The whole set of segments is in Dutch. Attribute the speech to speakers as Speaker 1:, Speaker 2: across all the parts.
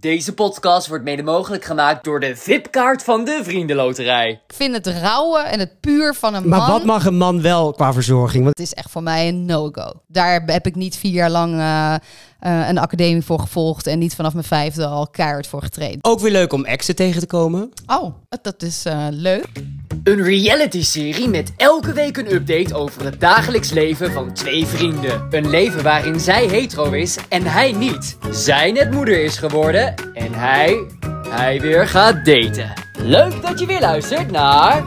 Speaker 1: Deze podcast wordt mede mogelijk gemaakt door de VIP-kaart van de Vriendenloterij.
Speaker 2: Ik vind het rauwe en het puur van een
Speaker 3: Maar
Speaker 2: man.
Speaker 3: wat mag een man wel qua verzorging? Want
Speaker 2: Het is echt voor mij een no-go. Daar heb ik niet vier jaar lang eh, eh, een academie voor gevolgd. En niet vanaf mijn vijfde al keihard voor getraind.
Speaker 3: ook weer leuk om exen tegen te komen.
Speaker 2: Oh, dat is eh, leuk.
Speaker 1: Een reality-serie met elke week een update over het dagelijks leven van twee vrienden. Een leven waarin zij hetero is en hij niet. Zij net moeder is geworden en hij, hij weer gaat daten. Leuk dat je weer luistert naar...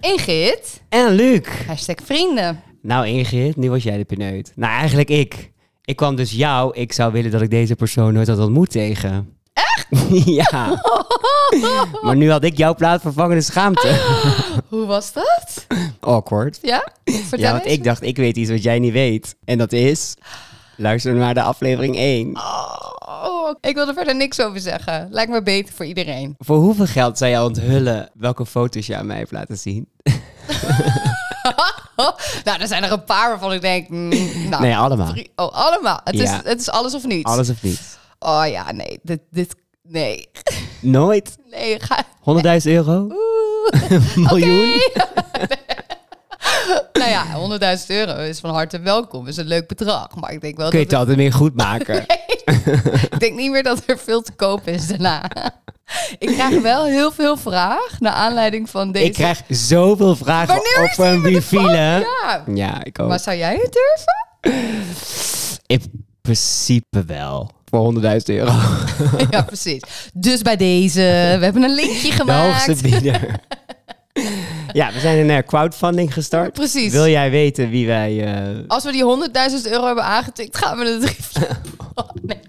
Speaker 2: Ingrid,
Speaker 3: En Luc.
Speaker 2: hashtag vrienden.
Speaker 3: Nou Ingrid, nu was jij de pineut. Nou, eigenlijk ik. Ik kwam dus jou. Ik zou willen dat ik deze persoon nooit had ontmoet tegen. Echt? ja. maar nu had ik jouw plaatsvervangende
Speaker 2: Oh.
Speaker 3: schaamte.
Speaker 2: Hoe was dat?
Speaker 3: Awkward.
Speaker 2: Ja? Vertel
Speaker 3: Ja, want
Speaker 2: eens.
Speaker 3: ik dacht, ik weet iets wat jij niet weet. En dat is... Luister naar de aflevering 1.
Speaker 2: Oh, ik wil er verder niks over zeggen. Lijkt me beter voor iedereen.
Speaker 3: Voor hoeveel geld zou jij onthullen welke foto's je aan mij hebt laten zien?
Speaker 2: Oh, nou, er zijn er een paar waarvan ik denk... mm, nou,
Speaker 3: Nee, allemaal.
Speaker 2: drie- Oh, allemaal. Het,
Speaker 3: Ja.
Speaker 2: is, het is alles of niets.
Speaker 3: Alles of niet?
Speaker 2: Oh ja, nee. Dit, dit, nee.
Speaker 3: Nooit?
Speaker 2: Nee, ga...
Speaker 3: 100.000 euro? Miljoen?
Speaker 2: Nou ja, 100.000 euro is van harte welkom. Is een leuk bedrag. Maar ik denk wel
Speaker 3: Kun je
Speaker 2: dat
Speaker 3: het altijd meer goed maken?
Speaker 2: ik denk niet meer dat er veel te koop is daarna. ik krijg wel heel veel vraag naar aanleiding van deze.
Speaker 3: Ik krijg zoveel vragen
Speaker 2: Wanneer is
Speaker 3: op een
Speaker 2: die met de
Speaker 3: wifi. hè?
Speaker 2: Ja.
Speaker 3: Ja, ik ook.
Speaker 2: Maar zou jij het durven?
Speaker 3: In principe wel. Voor 100.000 euro.
Speaker 2: ja, precies. Dus bij deze, we hebben een linkje
Speaker 3: De
Speaker 2: gemaakt.
Speaker 3: hoogste bieder. ja, we zijn een eh, crowdfunding gestart.
Speaker 2: Precies.
Speaker 3: Wil jij weten wie wij... eh,
Speaker 2: Als we die 100.000 euro hebben aangetikt, gaan we het review. Oh, nee,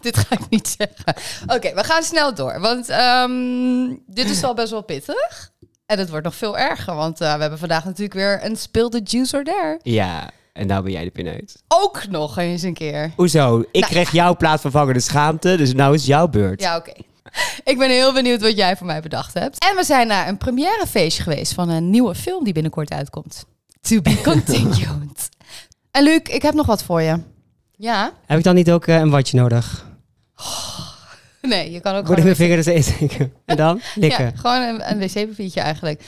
Speaker 2: dit ga ik niet zeggen. Oké, we gaan snel door. Want ehm, dit is al best wel pittig. En het wordt nog veel erger. Want eh, we hebben vandaag natuurlijk weer een speel the juice or dare.
Speaker 3: Ja, en nou ben jij de pineut.
Speaker 2: Ook nog eens een keer.
Speaker 3: Hoezo? Ik kreeg jouw plaatsvervangende schaamte, dus nou is jouw beurt.
Speaker 2: Nou, Ja, oké. Ik ben heel benieuwd wat jij voor mij bedacht hebt. En we zijn naar een premièrefeestje geweest van een nieuwe film die binnenkort uitkomt. To be continued. en Luc, ik heb nog wat voor je. Ja?
Speaker 3: Heb ik dan niet ook eh, een watje nodig?
Speaker 2: Nee, je kan
Speaker 3: Moet ik
Speaker 2: ook gewoon...
Speaker 3: mijn vingers eens insteken? En dan? Likken.
Speaker 2: Ja, gewoon een, een wc-papiertje eigenlijk.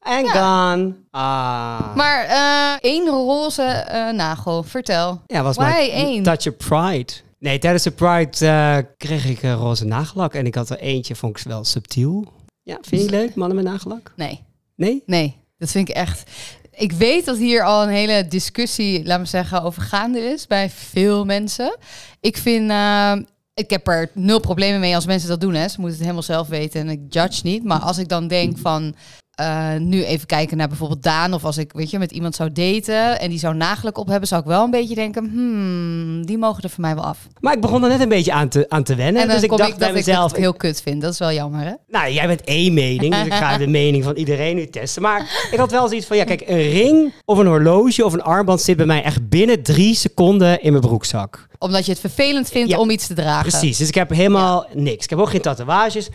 Speaker 3: En gone. Ah.
Speaker 2: Maar eh, één roze eh, nagel, vertel.
Speaker 3: Ja, was
Speaker 2: Why
Speaker 3: maar
Speaker 2: één?
Speaker 3: Touch of Pride. Nee, tijdens de Pride eh, kreeg ik eh, roze nagellak. En ik had er eentje, vond ik wel subtiel. Ja, vind je het leuk, mannen met nagellak?
Speaker 2: Nee,
Speaker 3: Nee?
Speaker 2: nee, dat vind ik echt... Ik weet dat hier al een hele discussie, laat me zeggen, over gaande is bij veel mensen. Ik vind... eh, ik heb er nul problemen mee als mensen dat doen. Hè. Ze moeten het helemaal zelf weten en ik judge niet. Maar als ik dan denk van... eh, nu even kijken naar bijvoorbeeld Daan. Of als ik weet je, met iemand zou daten en die zou nagelijk op hebben... zou ik wel een beetje denken, hmm, die mogen er voor mij wel af.
Speaker 3: Maar ik begon er net een beetje aan te, aan te wennen.
Speaker 2: En dan
Speaker 3: dus ik
Speaker 2: kom
Speaker 3: dacht
Speaker 2: ik
Speaker 3: bij
Speaker 2: dat
Speaker 3: mezelf...
Speaker 2: ik het heel kut vind. Dat is wel jammer, hè?
Speaker 3: Nou, jij bent één mening, dus ik ga de mening van iedereen nu testen. Maar ik had wel zoiets van, ja kijk, een ring of een horloge of een armband zit bij mij echt binnen drie seconden in mijn broekzak.
Speaker 2: Omdat je het vervelend vindt
Speaker 3: Ja,
Speaker 2: om iets te dragen.
Speaker 3: Precies, dus ik heb helemaal niks. Ik heb ook geen tatoeages.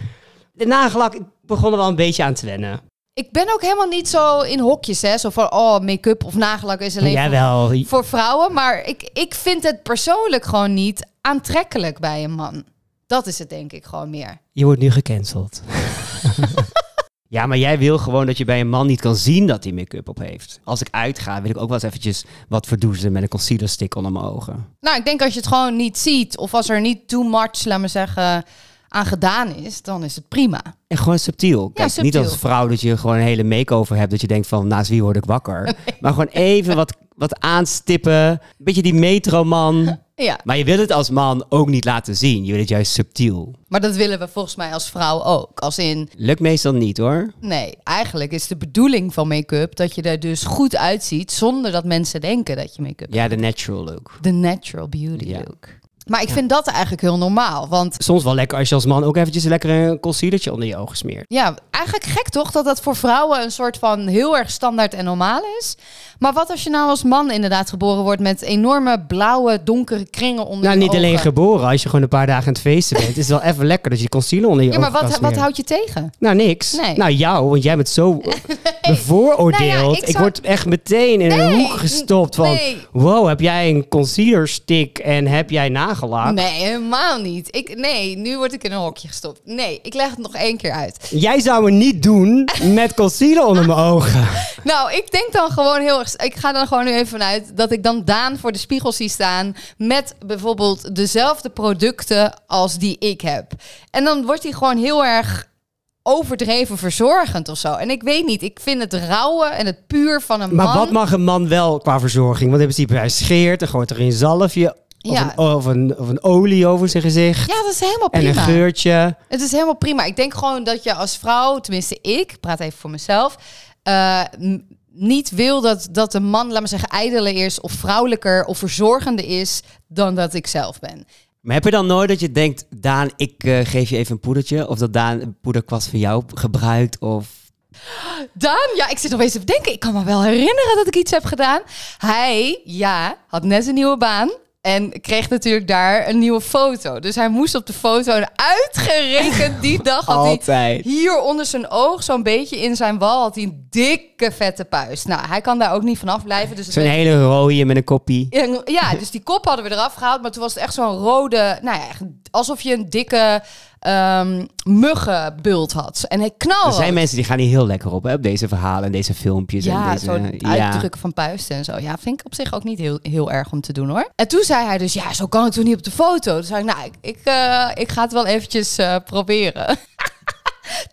Speaker 3: De nagellak, ik begon er wel een beetje aan te wennen.
Speaker 2: Ik ben ook helemaal niet zo in hokjes, hè. Zo van, oh, make-up of nagellak is alleen
Speaker 3: Jij
Speaker 2: voor-
Speaker 3: wel.
Speaker 2: voor, vrouwen. Maar ik, ik vind het persoonlijk gewoon niet aantrekkelijk bij een man. Dat is het denk ik gewoon meer.
Speaker 3: Je wordt nu gecanceld. ja, maar jij wil gewoon dat je bij een man niet kan zien dat hij make-up op heeft. Als ik uitga, wil ik ook wel eens eventjes wat verdoezelen met een concealer stick onder mijn ogen.
Speaker 2: Nou, ik denk als je het gewoon niet ziet... of als er niet too much, laat maar zeggen, aan gedaan is... dan is het prima.
Speaker 3: En gewoon subtiel. Kijk, niet
Speaker 2: subtiel.
Speaker 3: als vrouw dat je gewoon een hele make-over hebt. Dat je denkt van, naast wie word ik wakker? Maar gewoon even wat, wat aanstippen. Beetje die metroman.
Speaker 2: Ja,
Speaker 3: Maar je wil het als man ook niet laten zien. Je wil het juist subtiel.
Speaker 2: maar dat willen we volgens mij als vrouw ook. Als in,
Speaker 3: Lukt meestal niet hoor.
Speaker 2: Nee, eigenlijk is de bedoeling van make-up dat je er dus goed uitziet zonder dat mensen denken dat je make-up.
Speaker 3: Ja, de natural look.
Speaker 2: De natural beauty
Speaker 3: Ja.
Speaker 2: look. Maar ik vind dat eigenlijk heel normaal, want
Speaker 3: Soms wel lekker als je als man ook eventjes lekker een concealertje onder je ogen smeert.
Speaker 2: ja, eigenlijk gek toch dat dat voor vrouwen een soort van heel erg standaard en normaal is. Maar wat als je nou als man inderdaad geboren wordt met enorme blauwe, donkere kringen onder
Speaker 3: Nou,
Speaker 2: je
Speaker 3: niet alleen
Speaker 2: ogen?
Speaker 3: geboren. Als je gewoon een paar dagen aan het feesten bent, is het wel even lekker dat je concealer onder je
Speaker 2: Ja, maar
Speaker 3: ogen kan
Speaker 2: wat, wat
Speaker 3: smeren.
Speaker 2: houdt je tegen?
Speaker 3: Nou, niks.
Speaker 2: Nee.
Speaker 3: Nou, jou, want jij bent zo bevooroordeeld.
Speaker 2: Nou ja, ik
Speaker 3: ik,
Speaker 2: zou-
Speaker 3: word echt meteen in een
Speaker 2: Nee,
Speaker 3: hoek gestopt van...
Speaker 2: nee.
Speaker 3: Wow, heb jij een concealerstick en heb jij nagelaak?
Speaker 2: Nee, helemaal niet. Ik, nee, nu word ik in een hokje gestopt. Nee, ik leg het nog één keer uit.
Speaker 3: Jij zou me niet doen met concealer onder mijn ogen.
Speaker 2: Nou, ik denk dan gewoon heel erg... Ik ga dan gewoon nu even vanuit dat ik dan Daan voor de spiegel zie staan... met bijvoorbeeld dezelfde producten als die ik heb. En dan wordt hij gewoon heel erg overdreven verzorgend of zo. En ik weet niet, ik vind het rauwe en het puur van een
Speaker 3: Maar
Speaker 2: man...
Speaker 3: wat mag een man wel qua verzorging? Want in principe, hij scheert en gooit er een zalfje of,
Speaker 2: Ja.
Speaker 3: een, of, een, of een olie over zijn gezicht.
Speaker 2: Ja, dat is helemaal
Speaker 3: en
Speaker 2: prima.
Speaker 3: een geurtje.
Speaker 2: Het is helemaal prima. Ik denk gewoon dat je als vrouw, tenminste ik, ik praat even voor mezelf, eh, m- niet wil dat, dat een man, laat maar zeggen, ijdeler is of vrouwelijker of verzorgender is dan dat ik zelf ben.
Speaker 3: Maar heb je dan nooit dat je denkt, Daan, ik eh, geef je even een poedertje? Of dat Daan een poederkwast van jou gebruikt? Of...
Speaker 2: Dan, ja, ik zit nog eens te denken. Ik kan me wel herinneren dat ik iets heb gedaan. Hij, ja, had net een nieuwe baan. En kreeg natuurlijk daar een nieuwe foto. Dus hij moest op de foto. En uitgerekend die dag had hij
Speaker 3: Altijd.
Speaker 2: Hier onder zijn oog, zo'n beetje in zijn wal, had hij een dikke vette puist. Nou, hij kan daar ook niet vanaf blijven. Dus het
Speaker 3: Zo'n hele rode met een koppie.
Speaker 2: en, ja, dus die kop hadden we eraf gehaald. Maar toen was het echt zo'n rode... Nou ja, echt alsof je een dikke ehm, muggenbult had. En hij knalde.
Speaker 3: Er zijn mensen die gaan hier heel lekker op, hè, op deze verhalen en deze filmpjes.
Speaker 2: Ja,
Speaker 3: en deze,
Speaker 2: zo'n uitdrukken van puisten en zo. Ja, vind ik op zich ook niet heel, heel erg om te doen hoor. En toen zei hij dus, ja, zo kan ik toch niet op de foto? Toen zei ik, nou, ik, ik, eh, ik ga het wel eventjes eh, proberen.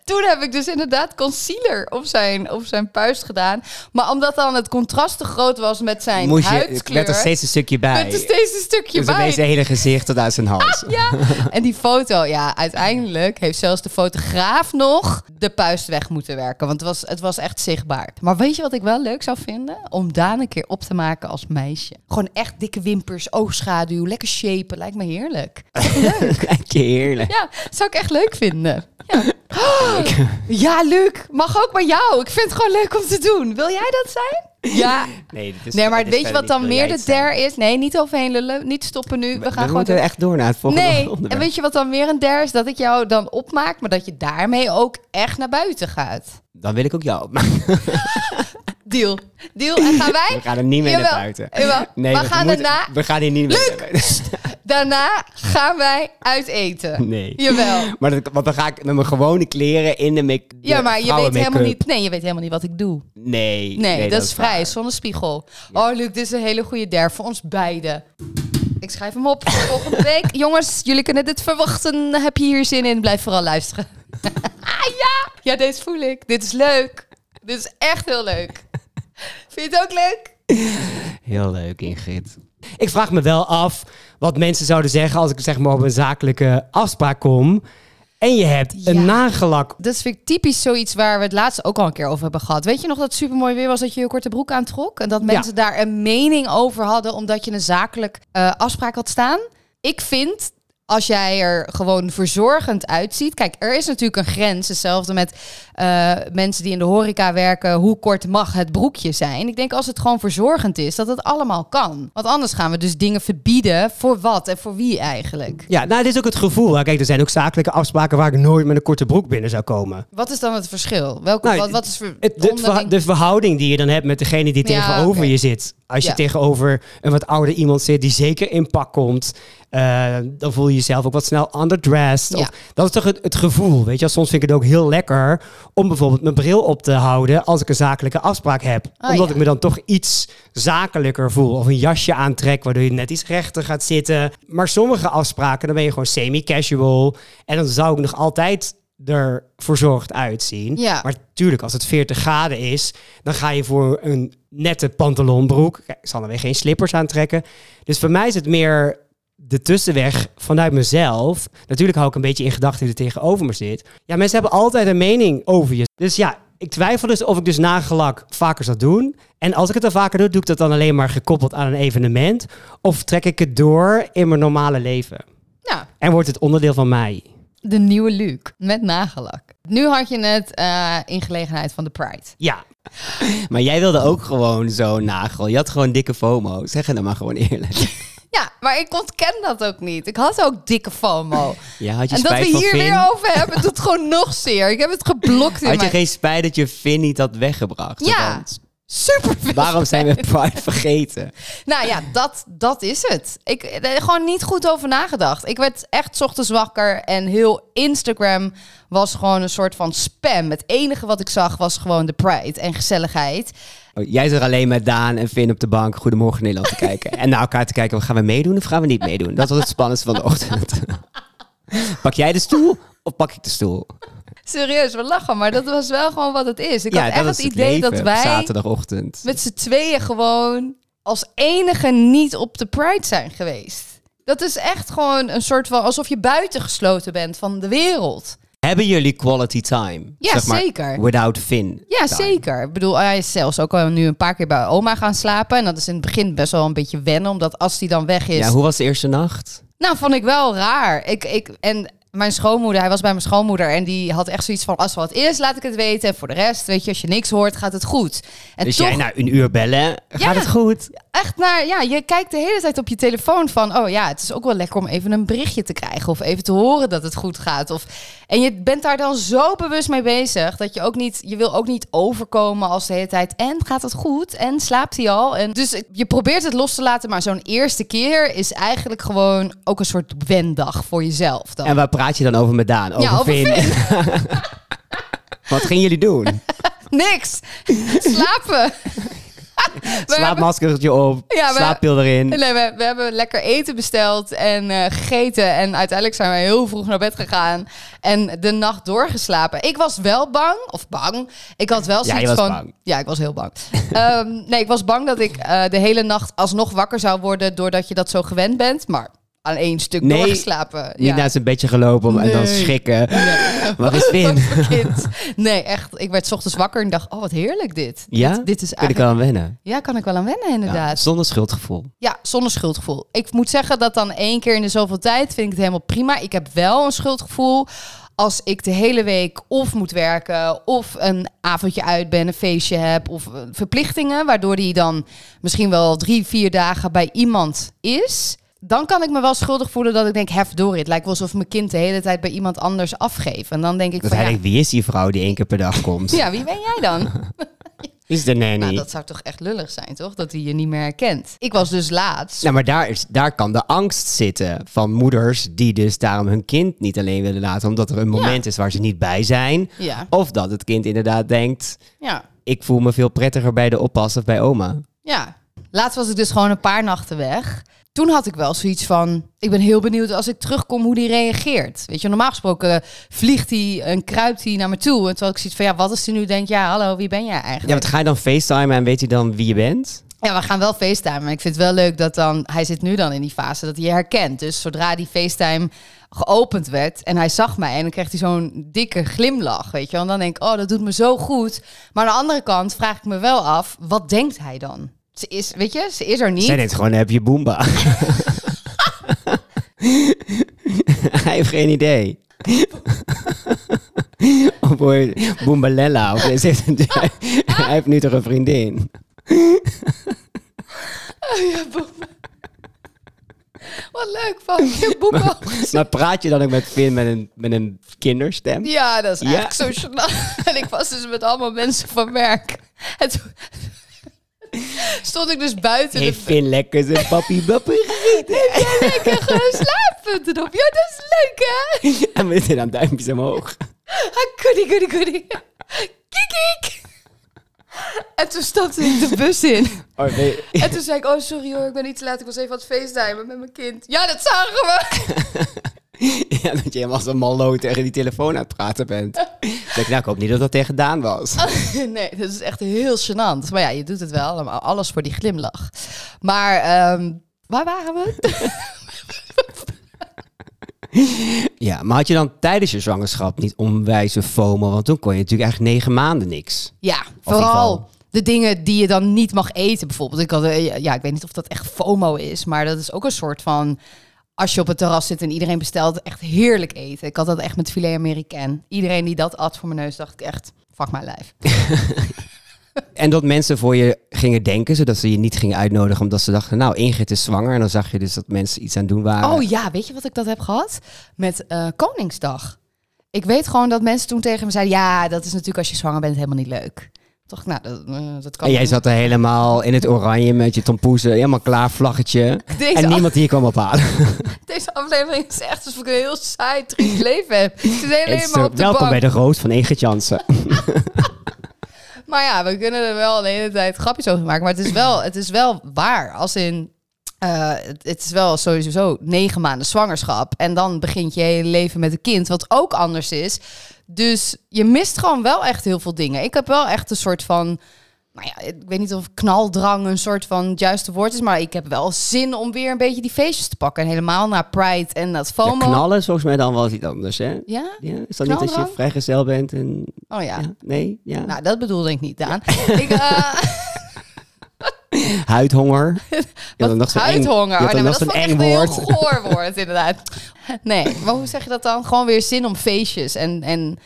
Speaker 2: toen heb ik dus inderdaad concealer op zijn, op zijn puist gedaan. Maar omdat dan het contrast te groot was met zijn
Speaker 3: Moest je, ik
Speaker 2: huidskleur...
Speaker 3: werd er steeds een stukje bij.
Speaker 2: werd er steeds een stukje
Speaker 3: dus
Speaker 2: bij.
Speaker 3: ineens het hele gezicht tot uit zijn hals.
Speaker 2: Ja, en die foto, ja, uiteindelijk heeft zelfs de fotograaf nog de puist weg moeten werken. Want het was, het was echt zichtbaar. Maar weet je wat ik wel leuk zou vinden? Om Daan een keer op te maken als meisje. Gewoon echt dikke wimpers, oogschaduw, lekker shapen. Lijkt me heerlijk.
Speaker 3: Kijk je heerlijk.
Speaker 2: Ja, zou ik echt leuk vinden. Ja, Oh, ja Luc, mag ook bij jou. Ik vind het gewoon leuk om te doen. Wil jij dat zijn? Ja.
Speaker 3: Nee, dit is-
Speaker 2: Nee, maar
Speaker 3: dit is
Speaker 2: weet je wat
Speaker 3: verder niet
Speaker 2: dan meer de
Speaker 3: briljant zijn.
Speaker 2: der is? Nee, niet overheen lullen. Niet stoppen nu. We
Speaker 3: We
Speaker 2: gaan gewoon
Speaker 3: moeten
Speaker 2: door.
Speaker 3: echt door naar het volgende
Speaker 2: Nee, en
Speaker 3: onderwerp.
Speaker 2: weet je wat dan weer een der is? Dat ik jou dan opmaak, maar dat je daarmee ook echt naar buiten gaat.
Speaker 3: Dan wil ik ook jou opmaken.
Speaker 2: Deal. Deal. En gaan wij?
Speaker 3: We gaan er niet mee
Speaker 2: Jawel,
Speaker 3: naar buiten.
Speaker 2: jawel.
Speaker 3: Nee,
Speaker 2: we, gaan
Speaker 3: moeten-
Speaker 2: daarna,
Speaker 3: We gaan hier niet mee naar buiten.
Speaker 2: daarna gaan wij uit eten.
Speaker 3: Nee.
Speaker 2: Jawel.
Speaker 3: Maar dat, want dan ga ik met mijn gewone kleren in de make de
Speaker 2: Ja, maar je weet,
Speaker 3: vrouwenmake-up.
Speaker 2: helemaal niet, nee, je weet helemaal niet wat ik doe.
Speaker 3: Nee, nee,
Speaker 2: Nee, dat, is vrij,
Speaker 3: waar.
Speaker 2: zonder spiegel. Oh, Luc, dit is een hele goede der voor ons beiden. Ik schrijf hem op voor volgende week. Jongens, jullie kunnen dit verwachten. Heb je hier zin in? Blijf vooral luisteren. ah, ja! Ja, deze voel ik. Dit is leuk. Dit is echt heel leuk. Vind je het ook leuk?
Speaker 3: Heel leuk, Ingrid. Ik vraag me wel af wat mensen zouden zeggen als ik zeg maar op een zakelijke afspraak kom. En je hebt
Speaker 2: Ja.
Speaker 3: een nagelak.
Speaker 2: Dat is weer typisch zoiets waar we het laatst ook al een keer over hebben gehad. Weet je nog dat het supermooi weer was dat je je korte broek aantrok? En dat mensen daar een mening over hadden omdat je een zakelijk eh, afspraak had staan? Ik vind, als jij er gewoon verzorgend uitziet... Kijk, er is natuurlijk een grens. Hetzelfde met eh, mensen die in de horeca werken. Hoe kort mag het broekje zijn? Ik denk als het gewoon verzorgend is, dat het allemaal kan. Want anders gaan we dus dingen verbieden. Voor wat en voor wie eigenlijk?
Speaker 3: Ja, nou, dit is ook het gevoel. hè. Kijk, er zijn ook zakelijke afspraken waar ik nooit met een korte broek binnen zou komen.
Speaker 2: Wat is dan het verschil? Welke,
Speaker 3: Nou,
Speaker 2: wat, wat is ver-
Speaker 3: Het, de, verha-
Speaker 2: onderling-
Speaker 3: de verhouding die je dan hebt met degene die
Speaker 2: Ja,
Speaker 3: tegenover
Speaker 2: oké.
Speaker 3: je zit. Als je
Speaker 2: Ja.
Speaker 3: tegenover een wat ouder iemand zit die zeker in pak komt, eh, dan voel je jezelf ook wat snel underdressed.
Speaker 2: Ja.
Speaker 3: Of, dat is toch het, het gevoel, weet je? wel. Soms vind ik het ook heel lekker om bijvoorbeeld mijn bril op te houden als ik een zakelijke afspraak heb.
Speaker 2: Oh,
Speaker 3: omdat
Speaker 2: ja.
Speaker 3: ik me dan toch iets zakelijker voel. Of een jasje aantrek waardoor je net iets rechter gaat zitten. Maar sommige afspraken, dan ben je gewoon semi-casual. En dan zou ik nog altijd er verzorgd uitzien.
Speaker 2: Ja.
Speaker 3: Maar tuurlijk, als het 40 graden is, dan ga je voor een nette pantalonbroek. Kijk, Ik zal dan weer geen slippers aantrekken. Dus voor mij is het meer de tussenweg vanuit mezelf. Natuurlijk hou ik een beetje in gedachten wie er tegenover me zit. Ja, mensen hebben altijd een mening over je. Dus ja, ik twijfel dus of ik dus nagelak vaker zou doen. En als ik het dan vaker doe, doe ik dat dan alleen maar gekoppeld aan een evenement. Of trek ik het door in mijn normale leven.
Speaker 2: Ja,
Speaker 3: En wordt het onderdeel van mij.
Speaker 2: de nieuwe Luke met nagellak. Nu had je het eh, in gelegenheid van de Pride.
Speaker 3: Ja, Maar jij wilde ook gewoon zo'n nagel. Je had gewoon dikke FOMO. Zeg het nou maar gewoon eerlijk.
Speaker 2: Ja, maar ik ontken dat ook niet. Ik had ook dikke FOMO.
Speaker 3: Ja, had je
Speaker 2: En dat we
Speaker 3: spijt van
Speaker 2: hier
Speaker 3: Finn?
Speaker 2: weer over hebben, doet gewoon nog zeer. Ik heb het geblokt in
Speaker 3: Had je
Speaker 2: mijn...
Speaker 3: geen spijt dat je Finn niet had weggebracht?
Speaker 2: Ja.
Speaker 3: Want
Speaker 2: Super veel
Speaker 3: waarom zijn we Pride vergeten?
Speaker 2: Nou ja, dat, dat is het. Ik heb er gewoon niet goed over nagedacht. Ik werd echt 's ochtends wakker en heel Instagram was gewoon een soort van spam. Het enige wat ik zag was gewoon de pride en gezelligheid.
Speaker 3: Oh, Jij zat alleen met Daan en Finn op de bank Goedemorgen Nederland te kijken. En naar elkaar te kijken, gaan we meedoen of gaan we niet meedoen? Dat was het spannendste van de ochtend. pak jij de stoel of pak ik de stoel?
Speaker 2: Serieus, we lachen, maar dat was wel gewoon wat het is. Ik had echt
Speaker 3: dat
Speaker 2: het
Speaker 3: is
Speaker 2: idee
Speaker 3: leven
Speaker 2: dat
Speaker 3: op
Speaker 2: wij
Speaker 3: zaterdagochtend.
Speaker 2: met z'n tweeën gewoon als enige niet op de pride zijn geweest. Dat is echt gewoon een soort van alsof je buitengesloten bent van de wereld.
Speaker 3: Hebben jullie quality time?
Speaker 2: Ja,
Speaker 3: Zeg maar,
Speaker 2: zeker.
Speaker 3: Without Finn.
Speaker 2: Ja,
Speaker 3: time.
Speaker 2: zeker. Ik bedoel, hij is zelfs ook al nu een paar keer bij oma gaan slapen. En dat is in het begin best wel een beetje wennen, omdat als die dan weg is...
Speaker 3: Ja, hoe was de eerste nacht?
Speaker 2: Nou, vond ik wel raar. Ik, ik, en mijn schoonmoeder, hij was bij mijn schoonmoeder en die had echt zoiets van... als er wat is, laat ik het weten. En voor de rest, weet je, als je niks hoort, gaat het goed. En
Speaker 3: dus
Speaker 2: toch
Speaker 3: jij na een uur bellen, gaat het goed?
Speaker 2: echt naar... Ja, je kijkt de hele tijd op je telefoon van... oh ja, het is ook wel lekker om even een berichtje te krijgen... of even te horen dat het goed gaat. Of, en je bent daar dan zo bewust mee bezig... dat je ook niet... je wil ook niet overkomen als de hele tijd... en gaat het goed? En slaapt hij al? En, dus het- je probeert het los te laten... maar zo'n eerste keer is eigenlijk gewoon... ook een soort wendag voor jezelf dan.
Speaker 3: En waar praat je dan over met Daan? Over,
Speaker 2: over
Speaker 3: Finn. Wat gingen jullie doen?
Speaker 2: Niks! Slapen! hebben-
Speaker 3: Slaapmaskertje op,
Speaker 2: Ja, we-
Speaker 3: slaappil erin.
Speaker 2: Nee, we, we hebben lekker eten besteld en eh, gegeten. En uiteindelijk zijn we heel vroeg naar bed gegaan. En de nacht doorgeslapen. Ik was wel bang, of bang. Ik had wel
Speaker 3: Ja,
Speaker 2: zoiets
Speaker 3: je was
Speaker 2: van...
Speaker 3: bang.
Speaker 2: Ja, ik was heel bang. Ehm, nee, ik was bang dat ik eh, de hele nacht alsnog wakker zou worden... doordat je dat zo gewend bent. Maar aan één stuk
Speaker 3: Nee,
Speaker 2: doorgeslapen.
Speaker 3: Niet
Speaker 2: Ja.
Speaker 3: naast een bedje gelopen om- en dan
Speaker 2: Nee.
Speaker 3: schrikken. Waar is Finn?
Speaker 2: Voor kind. Nee, echt. Ik werd 's ochtends wakker en dacht... Oh, wat heerlijk dit.
Speaker 3: Ja?
Speaker 2: Dit, dit is
Speaker 3: Kun ik
Speaker 2: eigenlijk...
Speaker 3: wel aan wennen.
Speaker 2: Ja, kan ik wel aan wennen
Speaker 3: Ja,
Speaker 2: inderdaad.
Speaker 3: zonder schuldgevoel.
Speaker 2: Ja, zonder schuldgevoel. Ik moet zeggen dat dan één keer in de zoveel tijd vind ik het helemaal prima. Ik heb wel een schuldgevoel als ik de hele week of moet werken... of een avondje uit ben, een feestje heb of eh, verplichtingen... waardoor die dan misschien wel drie, vier dagen bij iemand is... dan kan ik me wel schuldig voelen dat ik denk... hef door, het lijkt wel alsof mijn kind de hele tijd bij iemand anders afgeeft. En dan denk ik
Speaker 3: Dat
Speaker 2: van
Speaker 3: hij
Speaker 2: ja,
Speaker 3: denkt, wie is die vrouw die één keer per dag komt?
Speaker 2: ja, wie ben jij dan?
Speaker 3: Is de nanny.
Speaker 2: Nou,
Speaker 3: Nou,
Speaker 2: dat zou toch echt lullig zijn, toch? Dat hij je niet meer herkent. Ik was dus laatst.
Speaker 3: Nou, maar daar, is, daar kan de angst zitten van moeders die dus daarom hun kind niet alleen willen laten. Omdat er een moment is waar ze niet bij zijn.
Speaker 2: Ja,
Speaker 3: Of dat het kind inderdaad denkt,
Speaker 2: ja.
Speaker 3: ik voel me veel prettiger bij de oppas of bij oma.
Speaker 2: Ja. Laatst was ik dus gewoon een paar nachten weg. Toen had ik wel zoiets van, ik ben heel benieuwd als ik terugkom hoe die reageert. Weet je, normaal gesproken vliegt hij en kruipt hij naar me toe. En terwijl ik zoiets van, ja, wat als hij nu denkt, ja, hallo, wie ben jij
Speaker 3: Ja,
Speaker 2: eigenlijk?
Speaker 3: want ga je dan facetimen en weet hij dan wie je bent?
Speaker 2: Ja, we gaan wel facetimen. En ik vind het wel leuk dat dan, hij zit nu dan in die fase dat hij je herkent. Dus zodra die facetime geopend werd en hij zag mij en dan kreeg hij zo'n dikke glimlach, weet je wel. En dan denk ik, oh, dat doet me zo goed. Maar aan de andere kant vraag ik me wel af, wat denkt hij dan? Ze is, weet je, ze is er niet.
Speaker 3: Zij denkt gewoon, heb je boomba. Hij heeft geen idee. of hoor je Boombalella. Of hij heeft- hij heeft nu toch een vriendin.
Speaker 2: Wat leuk van je boeken.
Speaker 3: Maar praat je dan ook met Finn met een, met een kinderstem?
Speaker 2: Ja, dat is
Speaker 3: Ja.
Speaker 2: echt zo snel. En ik was dus met allemaal mensen van werk. En toen stond ik dus buiten.
Speaker 3: Heeft
Speaker 2: de...
Speaker 3: Finn lekker zijn papi bappie?
Speaker 2: Jij lekker gewoon slaappunten op. Ja, dat is leuk hè?
Speaker 3: En we zitten aan duimpjes omhoog.
Speaker 2: Ah, goodie, goodie, goodie. Kiek, kiek. En toen stapte ik de bus in.
Speaker 3: Oh, nee.
Speaker 2: En toen zei ik, oh sorry hoor, ik ben iets te laat. Ik was even aan het facetimen met mijn kind. Ja, dat zagen we.
Speaker 3: Ja, dat je helemaal als een malloot tegen die telefoon aan het praten bent. Ik Denk, nou, ik hoop niet dat dat tegen Daan was.
Speaker 2: nee, dat is echt heel gênant. Maar ja, je doet het wel allemaal. Alles voor die glimlach. Maar ehm, waar waren we?
Speaker 3: Ja, maar had je dan tijdens je zwangerschap niet onwijze FOMO? Want toen kon je natuurlijk echt negen maanden niks.
Speaker 2: ja,
Speaker 3: geval.
Speaker 2: vooral de dingen die je dan niet mag eten bijvoorbeeld. Ik, had, eh, ja, ik weet niet of dat echt FOMO is, maar dat is ook een soort van... Als je op het terras zit en iedereen bestelt, echt heerlijk eten. Ik had dat echt met filet americain. Iedereen die dat at voor mijn neus, dacht ik echt, fuck my life.
Speaker 3: En dat mensen voor je gingen denken, zodat ze je niet gingen uitnodigen, omdat ze dachten, nou, Ingrid is zwanger. En dan zag je dus dat mensen iets aan het doen waren.
Speaker 2: Oh ja, weet je wat ik dat heb gehad? Met eh, Koningsdag. Ik weet gewoon dat mensen toen tegen me zeiden... ja, dat is natuurlijk als je zwanger bent helemaal niet leuk. Toch, nou, dat, eh, dat kan
Speaker 3: en jij
Speaker 2: niet.
Speaker 3: zat er helemaal in het oranje met je tompoezen, helemaal klaar, vlaggetje.
Speaker 2: Deze
Speaker 3: en niemand die je kwam ophalen.
Speaker 2: Deze aflevering is echt alsof ik een heel saai, triest leven heb. Ze zijn
Speaker 3: Het is
Speaker 2: helemaal
Speaker 3: zo-
Speaker 2: op de
Speaker 3: welkom
Speaker 2: bank.
Speaker 3: bij de Roos van Ingrid Jansen.
Speaker 2: Maar ja, we kunnen er wel de hele tijd grapjes over maken. Maar het is wel, het is wel waar. Als in, eh, het, het is wel sowieso negen maanden zwangerschap. En dan begint je hele leven met een kind, wat ook anders is. Dus je mist gewoon wel echt heel veel dingen. Ik heb wel echt een soort van... Nou ja, ik weet niet of knaldrang een soort van het juiste woord is. Maar ik heb wel zin om weer een beetje die feestjes te pakken. En helemaal naar Pride en dat
Speaker 3: Ja,
Speaker 2: FOMO.
Speaker 3: knallen is volgens mij dan wel iets anders, hè?
Speaker 2: ja?
Speaker 3: Ja, is dat niet als je
Speaker 2: Knaldrang?
Speaker 3: vrijgezel bent en...
Speaker 2: Oh ja.
Speaker 3: Ja, nee? Ja.
Speaker 2: Nou, dat bedoelde ik niet, Daan. Ik, eh,
Speaker 3: Huidhonger. Ja,
Speaker 2: Wat
Speaker 3: nog zo'n eng-
Speaker 2: huidhonger.
Speaker 3: Ja,
Speaker 2: Oh, nee,
Speaker 3: dan
Speaker 2: maar
Speaker 3: nog
Speaker 2: dat
Speaker 3: zo'n
Speaker 2: vond ik
Speaker 3: eng
Speaker 2: echt een heel
Speaker 3: woord.
Speaker 2: goor woord, inderdaad. Nee, maar hoe zeg je dat dan? Gewoon weer zin om feestjes en, en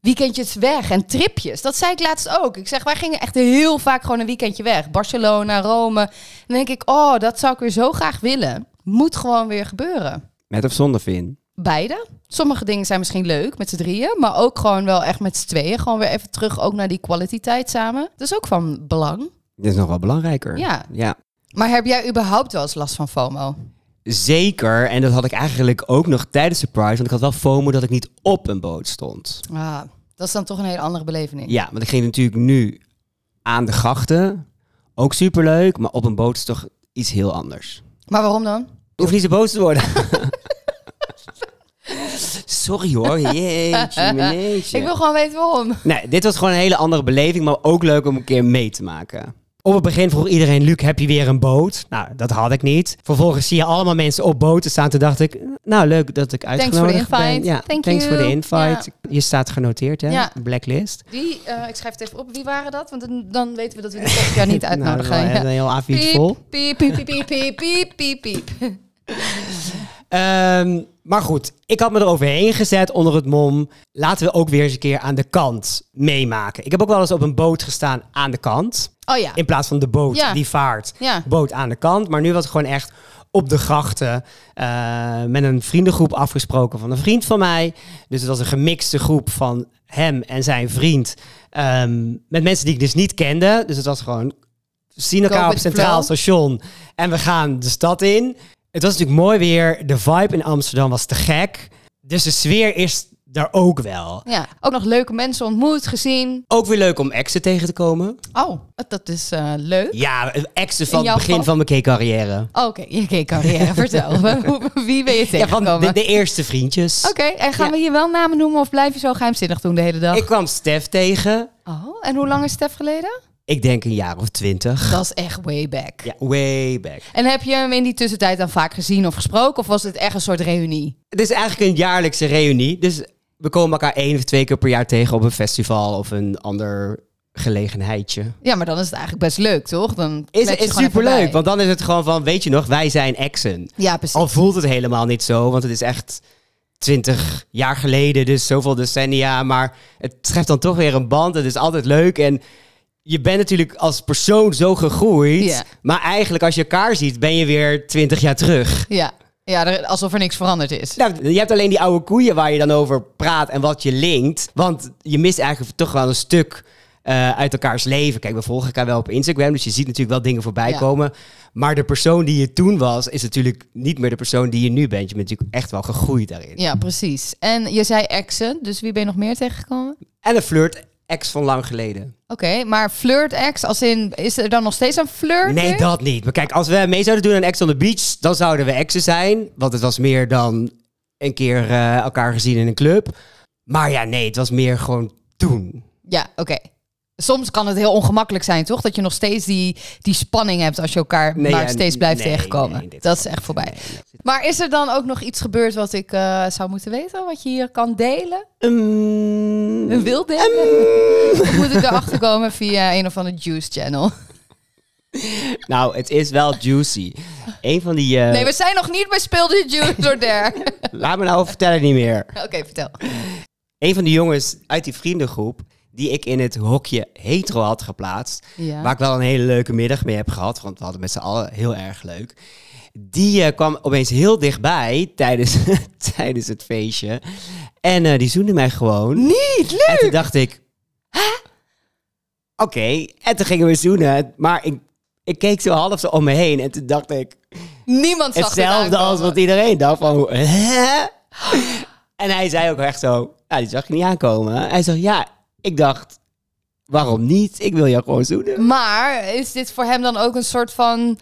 Speaker 2: weekendjes weg en tripjes. Dat zei ik laatst ook. Ik zeg, wij gingen echt heel vaak gewoon een weekendje weg. Barcelona, Rome. En dan denk ik, oh, dat zou ik weer zo graag willen. Moet gewoon weer gebeuren.
Speaker 3: Met of zonder vin.
Speaker 2: Beide. Sommige dingen zijn misschien leuk met z'n drieën, maar ook gewoon wel echt met z'n tweeën. Gewoon weer even terug ook naar die quality tijd samen. Dat is ook van belang.
Speaker 3: Dit is nog wel belangrijker.
Speaker 2: Ja.
Speaker 3: ja.
Speaker 2: Maar heb jij überhaupt wel eens last van FOMO?
Speaker 3: Zeker. En dat had ik eigenlijk ook nog tijdens de Pride. Want ik had wel FOMO dat ik niet op een boot stond.
Speaker 2: Ah, dat is dan toch een hele andere belevening.
Speaker 3: Ja, want ik ging natuurlijk nu aan de grachten. Ook superleuk. Maar op een boot is toch iets heel anders.
Speaker 2: Maar waarom dan?
Speaker 3: Je hoeft niet zo boos te worden. Sorry hoor. Jeetje, meneetje.
Speaker 2: Ik wil gewoon weten waarom.
Speaker 3: Nee, dit was gewoon een hele andere beleving, maar ook leuk om een keer mee te maken. Op het begin vroeg iedereen, Luc, heb je weer een boot? Nou, dat had ik niet. Vervolgens zie je allemaal mensen op boten staan. Toen dacht ik, nou leuk dat ik
Speaker 2: for the
Speaker 3: uitgenodigd ben.
Speaker 2: invite.
Speaker 3: Ja,
Speaker 2: Thank
Speaker 3: thanks
Speaker 2: you.
Speaker 3: voor de invite. Je staat genoteerd, hè?
Speaker 2: Ja.
Speaker 3: Blacklist.
Speaker 2: Wie, eh, ik schrijf het even op, wie waren dat? Want dan, dan weten we dat we die volgend jaar niet
Speaker 3: Nou,
Speaker 2: uitnodigen.
Speaker 3: we hebben
Speaker 2: Ja.
Speaker 3: een heel avondje vol.
Speaker 2: Piep, piep, piep, piep, piep, piep, piep, piep.
Speaker 3: Ehm, maar goed, ik had me er overheen gezet onder het mom. Laten we ook weer eens een keer aan de kant meemaken. Ik heb ook wel eens op een boot gestaan aan de kant.
Speaker 2: Oh ja.
Speaker 3: In plaats van de boot
Speaker 2: Ja.
Speaker 3: die vaart.
Speaker 2: Ja.
Speaker 3: Boot aan de kant. Maar nu was het gewoon echt op de grachten. eh, met een vriendengroep afgesproken van een vriend van mij. Dus het was een gemixte groep van hem en zijn vriend. ehm, met mensen die ik dus niet kende. Dus het was gewoon. We zien
Speaker 2: Go
Speaker 3: elkaar op
Speaker 2: with the
Speaker 3: Centraal
Speaker 2: flow.
Speaker 3: Station. En we gaan de stad in. Het was natuurlijk mooi weer. De vibe in Amsterdam was te gek. Dus de sfeer is daar ook wel.
Speaker 2: ja. Ook nog leuke mensen ontmoet, gezien.
Speaker 3: Ook weer leuk om exen tegen te komen.
Speaker 2: Oh, dat is eh, leuk.
Speaker 3: Ja, exen van
Speaker 2: In
Speaker 3: het
Speaker 2: jouw
Speaker 3: begin
Speaker 2: geval?
Speaker 3: van mijn carrière.
Speaker 2: Oh, Oké, je keek carrière, vertel. Hoe- Wie ben je
Speaker 3: Ja, van
Speaker 2: tegengekomen?
Speaker 3: de, de eerste vriendjes.
Speaker 2: Oké, en gaan we hier wel namen noemen of blijf je zo geheimzinnig doen de hele dag?
Speaker 3: Ik kwam Stef tegen.
Speaker 2: Oh, en hoe lang is Stef geleden?
Speaker 3: Ik denk een jaar of twintig.
Speaker 2: Dat is echt way back.
Speaker 3: Ja, way back.
Speaker 2: En heb je hem in die tussentijd dan vaak gezien of gesproken? Of was het echt een soort reunie?
Speaker 3: Het is eigenlijk een jaarlijkse reunie. Dus we komen elkaar één of twee keer per jaar tegen op een festival of een ander gelegenheidje.
Speaker 2: Ja, maar dan is het eigenlijk best leuk, toch? Dan
Speaker 3: Is,
Speaker 2: kletst je
Speaker 3: is
Speaker 2: gewoon even bij.
Speaker 3: superleuk, want Oh. dan is het gewoon van, weet je nog, wij zijn exen.
Speaker 2: Ja, precies.
Speaker 3: Al voelt het helemaal niet zo, want het is echt twintig jaar geleden, dus zoveel decennia. Maar het schept dan toch weer een band. Het is altijd leuk. En je bent natuurlijk als persoon zo gegroeid.
Speaker 2: Ja.
Speaker 3: Maar eigenlijk als je elkaar ziet, ben je weer twintig jaar terug.
Speaker 2: Ja, ja er- alsof er niks veranderd is.
Speaker 3: Nou, je hebt alleen die oude koeien waar je dan over praat en wat je linkt. Want je mist eigenlijk toch wel een stuk eh, uit elkaars leven. Kijk, we volgen elkaar wel op Instagram, dus je ziet natuurlijk wel dingen voorbij
Speaker 2: Ja.
Speaker 3: komen. Maar de persoon die je toen was, is natuurlijk niet meer de persoon die je nu bent. Je bent natuurlijk echt wel gegroeid daarin.
Speaker 2: Ja, precies. En je zei exen, dus wie ben je nog meer tegengekomen?
Speaker 3: En een flirt, ex van lang geleden.
Speaker 2: Oké, maar flirt ex, als in, is er dan nog steeds een flirt?
Speaker 3: Nee,
Speaker 2: weer?
Speaker 3: dat niet. Maar kijk, als we mee zouden doen aan Ex on the Beach, dan zouden we exen zijn. Want het was meer dan een keer eh, elkaar gezien in een club. Maar ja, nee, het was meer gewoon toen.
Speaker 2: Ja, oké. Soms kan het heel ongemakkelijk zijn, toch? Dat je nog steeds die, die spanning hebt als je elkaar
Speaker 3: Nee,
Speaker 2: maar
Speaker 3: ja,
Speaker 2: steeds blijft
Speaker 3: nee,
Speaker 2: tegenkomen.
Speaker 3: nee, in dit
Speaker 2: dat is echt voorbij. Maar is er dan ook nog iets gebeurd wat ik eh, zou moeten weten? Wat je hier kan delen?
Speaker 3: Ehm,
Speaker 2: Een wild delen? Of moet ik erachter komen via een of andere Juice Channel?
Speaker 3: nou, het is wel juicy. Een van die... eh,
Speaker 2: Nee, we zijn nog niet bij Speel de Juice door daar. Oké,
Speaker 3: Laat me nou vertellen niet meer.
Speaker 2: vertel.
Speaker 3: Een van die jongens uit die vriendengroep, die ik in het hokje hetero had geplaatst.
Speaker 2: Ja.
Speaker 3: Waar ik wel een hele leuke middag mee heb gehad. Want we hadden met z'n allen heel erg leuk. Die eh, kwam opeens heel dichtbij tijdens, tijdens het feestje. En eh, die zoende mij gewoon.
Speaker 2: Niet leuk.
Speaker 3: En toen dacht ik... Oké, en toen gingen we zoenen. Maar ik, ik keek zo half zo om me heen. En toen dacht ik...
Speaker 2: Niemand zag dit
Speaker 3: Hetzelfde als
Speaker 2: aankomen.
Speaker 3: wat iedereen dacht van... Hè? En hij zei ook echt zo... Nou, die zag je niet aankomen. Hij zei, ja, ik dacht... Waarom niet? Ik wil jou gewoon zoenen.
Speaker 2: Maar is dit voor hem dan ook een soort van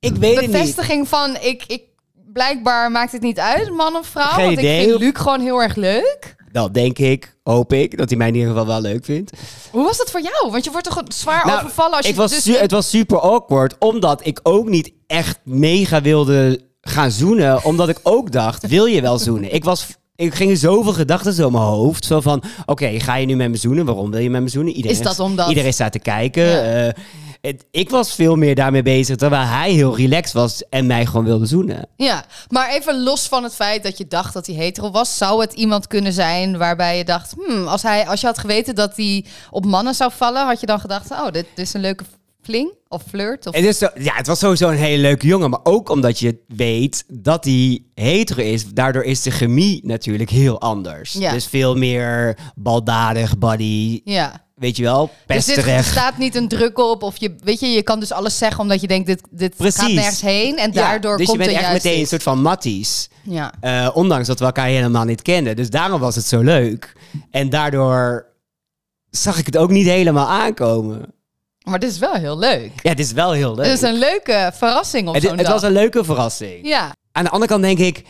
Speaker 3: Ik weet het niet.
Speaker 2: bevestiging van ik, ik blijkbaar maakt het niet uit, man of vrouw.
Speaker 3: Geen
Speaker 2: want
Speaker 3: idee.
Speaker 2: ik vind Luc gewoon heel erg leuk.
Speaker 3: Dan denk ik, hoop ik, dat hij mij in ieder geval wel leuk vindt.
Speaker 2: Hoe was dat voor jou? Want je wordt toch zwaar
Speaker 3: Nou,
Speaker 2: overvallen als je
Speaker 3: ik was
Speaker 2: dus
Speaker 3: su- Het was super awkward, omdat ik ook niet echt mega wilde gaan zoenen. Omdat ik ook dacht, wil je wel zoenen? Ik was... Ik ging zoveel gedachten zo in mijn hoofd. Zo van, oké, ga je nu met me zoenen? Waarom wil je met me zoenen? Iedereen,
Speaker 2: Is dat omdat-
Speaker 3: Iedereen staat te kijken.
Speaker 2: Ja.
Speaker 3: eh, het- ik was veel meer daarmee bezig, terwijl hij heel relaxed was en mij gewoon wilde zoenen.
Speaker 2: Ja, maar even los van het feit dat je dacht dat hij hetero was, zou het iemand kunnen zijn waarbij je dacht, hmm, als, hij, als je had geweten dat hij op mannen zou vallen, had je dan gedacht, oh, dit, dit is een leuke fling of flirt? Of...
Speaker 3: Het, is zo- ja, het was sowieso een hele leuke jongen, maar ook omdat je weet dat hij hetero is. Daardoor is de chemie natuurlijk heel anders.
Speaker 2: Ja.
Speaker 3: Dus veel meer baldadig, buddy,
Speaker 2: Ja.
Speaker 3: weet je wel,
Speaker 2: Dus dit, er
Speaker 3: pesterig.
Speaker 2: staat niet een druk op of je, weet je, je kan dus alles zeggen omdat je denkt, dit, dit gaat
Speaker 3: Precies.
Speaker 2: nergens heen en daardoor
Speaker 3: ja, dus
Speaker 2: komt
Speaker 3: je bent
Speaker 2: er
Speaker 3: echt
Speaker 2: juist
Speaker 3: meteen een
Speaker 2: iets.
Speaker 3: soort van matties.
Speaker 2: Ja.
Speaker 3: Eh, ondanks dat we elkaar helemaal niet kenden. Dus daarom was het zo leuk. En daardoor zag ik het ook niet helemaal aankomen.
Speaker 2: Maar dit is wel heel leuk.
Speaker 3: Ja, het is wel heel leuk.
Speaker 2: Dit is een leuke verrassing op
Speaker 3: het,
Speaker 2: zo'n
Speaker 3: het
Speaker 2: dag.
Speaker 3: was een leuke verrassing.
Speaker 2: Ja.
Speaker 3: Aan de andere kant denk ik,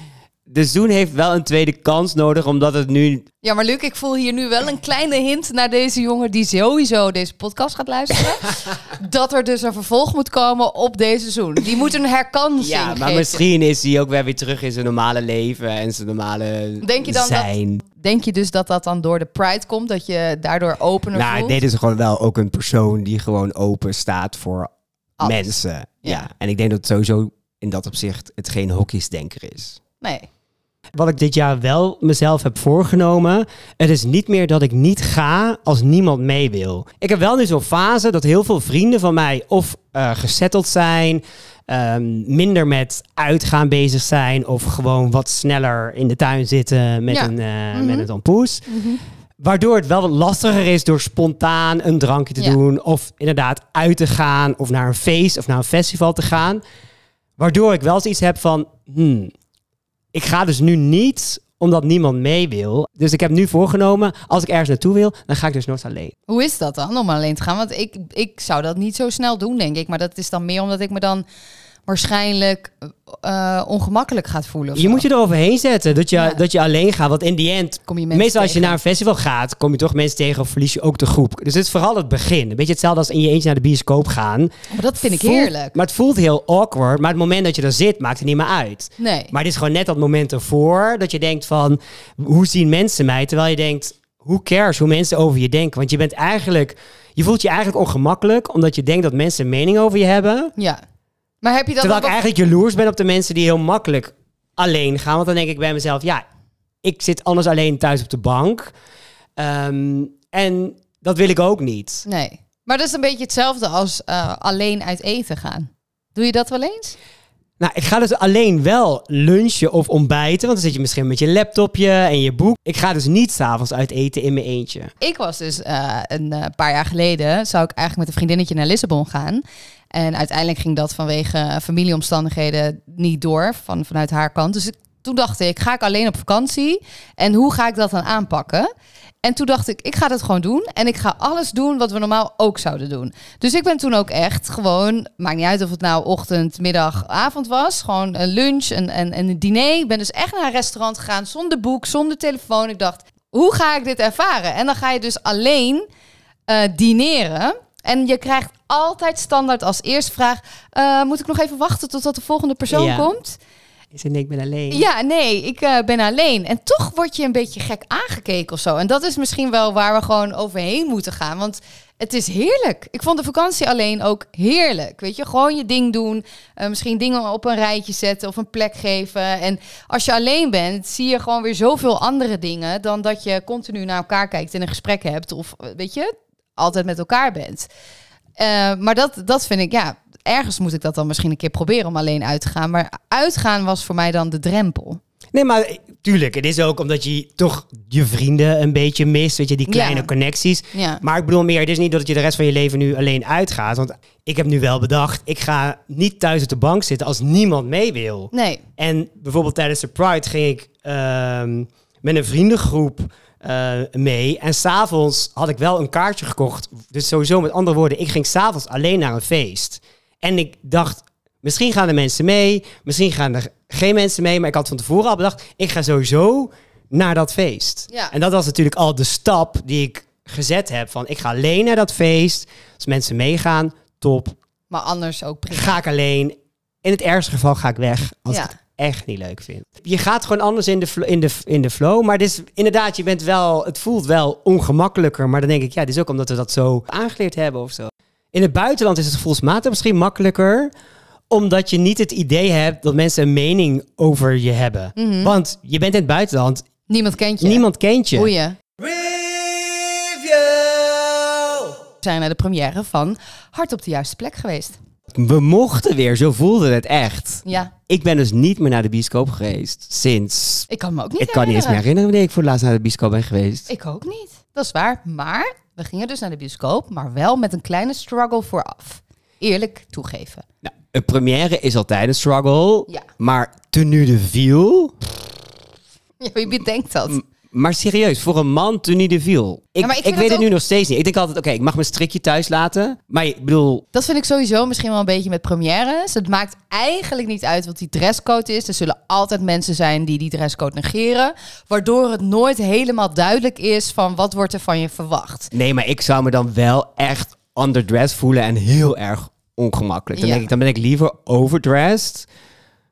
Speaker 3: de Zoen heeft wel een tweede kans nodig, omdat het nu...
Speaker 2: Ja, maar Luc, ik voel hier nu wel een kleine hint naar deze jongen die sowieso deze podcast gaat luisteren. dat er dus een vervolg moet komen op deze zoen. Die moet een herkansing
Speaker 3: Ja, maar
Speaker 2: geven.
Speaker 3: misschien is hij ook weer weer terug in zijn normale leven en zijn normale
Speaker 2: Denk je dan dat-
Speaker 3: zijn.
Speaker 2: Denk je dus dat dat dan door de pride komt? Dat je daardoor opener
Speaker 3: Nou,
Speaker 2: voelt?
Speaker 3: dit is gewoon wel ook een persoon die gewoon open staat voor
Speaker 2: Alles.
Speaker 3: mensen. Ja.
Speaker 2: Ja.
Speaker 3: En ik denk dat sowieso in dat opzicht het geen hokjesdenker is.
Speaker 2: Nee.
Speaker 3: Wat ik dit jaar wel mezelf heb voorgenomen, het is niet meer dat ik niet ga als niemand mee wil. Ik heb wel nu zo'n fase dat heel veel vrienden van mij of eh gesetteld zijn, ehm, minder met uitgaan bezig zijn of gewoon wat sneller in de tuin zitten met
Speaker 2: Ja.
Speaker 3: een, eh, met een tompoes. Waardoor het wel wat lastiger is door spontaan een drankje te
Speaker 2: Ja.
Speaker 3: doen. Of inderdaad uit te gaan. Of naar een feest of naar een festival te gaan. Waardoor ik wel zoiets heb van... hmm, ik ga dus nu niet omdat niemand mee wil. Dus ik heb nu voorgenomen, als ik ergens naartoe wil, dan ga ik dus nooit alleen.
Speaker 2: Hoe is dat dan om alleen te gaan? Want ik, ik zou dat niet zo snel doen, denk ik. Maar dat is dan meer omdat ik me dan waarschijnlijk eh, ongemakkelijk gaat voelen. of
Speaker 3: Je
Speaker 2: zo.
Speaker 3: moet je eroverheen zetten dat je,
Speaker 2: Ja.
Speaker 3: dat je alleen gaat. Want in die end,
Speaker 2: Kom je mensen
Speaker 3: meestal als je
Speaker 2: tegen.
Speaker 3: naar een festival gaat, kom je toch mensen tegen of verlies je ook de groep. Dus het is vooral het begin. Een beetje hetzelfde als in je eentje naar de bioscoop gaan.
Speaker 2: Maar dat vind ik
Speaker 3: Voelt-
Speaker 2: heerlijk.
Speaker 3: Maar het voelt heel awkward. Maar het moment dat je er zit, maakt het niet meer uit.
Speaker 2: Nee.
Speaker 3: Maar het is gewoon net dat moment ervoor dat je denkt van, hoe zien mensen mij? Terwijl je denkt, hoe cares hoe mensen over je denken? Want je bent eigenlijk, je voelt je eigenlijk ongemakkelijk, omdat je denkt dat mensen een mening over je hebben.
Speaker 2: Ja. Maar heb je dat
Speaker 3: Terwijl
Speaker 2: ook
Speaker 3: ik eigenlijk jaloers ben op de mensen die heel makkelijk alleen gaan. Want dan denk ik bij mezelf, ja, ik zit anders alleen thuis op de bank. Ehm, en dat wil ik ook niet.
Speaker 2: Nee. Maar dat is een beetje hetzelfde als eh, alleen uit eten gaan. Doe je dat wel eens?
Speaker 3: Nou, ik ga dus alleen wel lunchen of ontbijten. Want dan zit je misschien met je laptopje en je boek. Ik ga dus niet s'avonds uit eten in mijn eentje.
Speaker 2: Ik was dus eh, een eh, paar jaar geleden, zou ik eigenlijk met een vriendinnetje naar Lissabon gaan. En uiteindelijk ging dat vanwege eh, familieomstandigheden niet door van, vanuit haar kant. Dus ik- toen dacht ik, ga ik alleen op vakantie? En hoe ga ik dat dan aanpakken? En toen dacht ik, ik ga dat gewoon doen. En ik ga alles doen wat we normaal ook zouden doen. Dus ik ben toen ook echt gewoon, maakt niet uit of het nou ochtend, middag, avond was. Gewoon een lunch en, en, en een diner. Ik ben dus echt naar een restaurant gegaan zonder boek, zonder telefoon. Ik dacht, hoe ga ik dit ervaren? En dan ga je dus alleen eh, dineren. En je krijgt altijd standaard als eerste vraag: eh, Moet ik nog even wachten totdat de volgende persoon
Speaker 3: Ja.
Speaker 2: komt?
Speaker 3: Is en ik ben alleen.
Speaker 2: Ja, nee, ik eh, ben alleen. En toch word je een beetje gek aangekeken of zo. En dat is misschien wel waar we gewoon overheen moeten gaan. Want het is heerlijk. Ik vond de vakantie alleen ook heerlijk. Weet je, gewoon je ding doen. eh, misschien dingen op een rijtje zetten of een plek geven. En als je alleen bent, zie je gewoon weer zoveel andere dingen. dan dat je continu naar elkaar kijkt en een gesprek hebt. of eh, weet je, altijd met elkaar bent. Eh, maar dat, dat vind ik, ja, ergens moet ik dat dan misschien een keer proberen om alleen uit te gaan. Maar uitgaan was voor mij dan de drempel.
Speaker 3: Nee, maar eh, tuurlijk. Het is ook omdat je toch je vrienden een beetje mist. Weet je, die kleine
Speaker 2: Ja.
Speaker 3: connecties.
Speaker 2: Ja.
Speaker 3: Maar ik bedoel meer, het is niet dat je de rest van je leven nu alleen uitgaat. Want ik heb nu wel bedacht, ik ga niet thuis op de bank zitten als niemand mee wil.
Speaker 2: Nee.
Speaker 3: En bijvoorbeeld tijdens de Pride ging ik ehm, met een vriendengroep eh, mee. En s'avonds had ik wel een kaartje gekocht. Dus sowieso met andere woorden, ik ging s'avonds alleen naar een feest. En ik dacht, misschien gaan er mensen mee. Misschien gaan er geen mensen mee. Maar ik had van tevoren al bedacht, ik ga sowieso naar dat feest.
Speaker 2: Ja.
Speaker 3: En dat was natuurlijk al de stap die ik gezet heb. Van, ik ga alleen naar dat feest. Als mensen meegaan, top.
Speaker 2: Maar anders ook prima.
Speaker 3: Ga ik alleen. In het ergste geval ga ik weg. Als
Speaker 2: Ja.
Speaker 3: ik het echt niet leuk vind. Je gaat gewoon anders in de, flo- in de, in de flow. Maar het is, inderdaad, je bent wel, het voelt wel ongemakkelijker. Maar dan denk ik, ja, dit is ook omdat we dat zo aangeleerd hebben of zo. In het buitenland is het gevoelsmatig misschien makkelijker omdat je niet het idee hebt dat mensen een mening over je hebben. Want je bent in het buitenland,
Speaker 2: Niemand kent je.
Speaker 3: niemand kent je.
Speaker 2: Boeien. We zijn naar de première van Hart op de Juiste Plek geweest.
Speaker 3: We mochten weer, zo voelde het echt.
Speaker 2: Ja,
Speaker 3: Ik ben dus niet meer naar de bioscoop geweest sinds
Speaker 2: ik kan me ook niet
Speaker 3: Ik kan niet eens meer herinneren wanneer ik voor het laatst naar de bioscoop ben geweest.
Speaker 2: Ik ook niet. Dat is waar. Maar we gingen dus naar de bioscoop, maar wel met een kleine struggle vooraf. Eerlijk toegeven.
Speaker 3: Nou, een première is altijd een struggle.
Speaker 2: Ja.
Speaker 3: Maar tenue de viel.
Speaker 2: Ja, wie bedenkt dat?
Speaker 3: Maar serieus, voor een man tenue de viel. Ik,
Speaker 2: Ja, maar
Speaker 3: ik,
Speaker 2: ik vind
Speaker 3: weet
Speaker 2: het
Speaker 3: het nu
Speaker 2: ook-
Speaker 3: nog steeds niet. Ik denk altijd, oké, ik mag mijn strikje thuis laten. Maar ik bedoel,
Speaker 2: Dat vind ik sowieso misschien wel een beetje met premières. Het maakt eigenlijk niet uit wat die dresscode is. Er zullen altijd mensen zijn die die dresscode negeren. Waardoor het nooit helemaal duidelijk is van wat wordt er van je verwacht.
Speaker 3: nee, maar ik zou me dan wel echt underdressed voelen en heel erg ongemakkelijk. Dan,
Speaker 2: Ja.
Speaker 3: denk ik, dan ben ik liever overdressed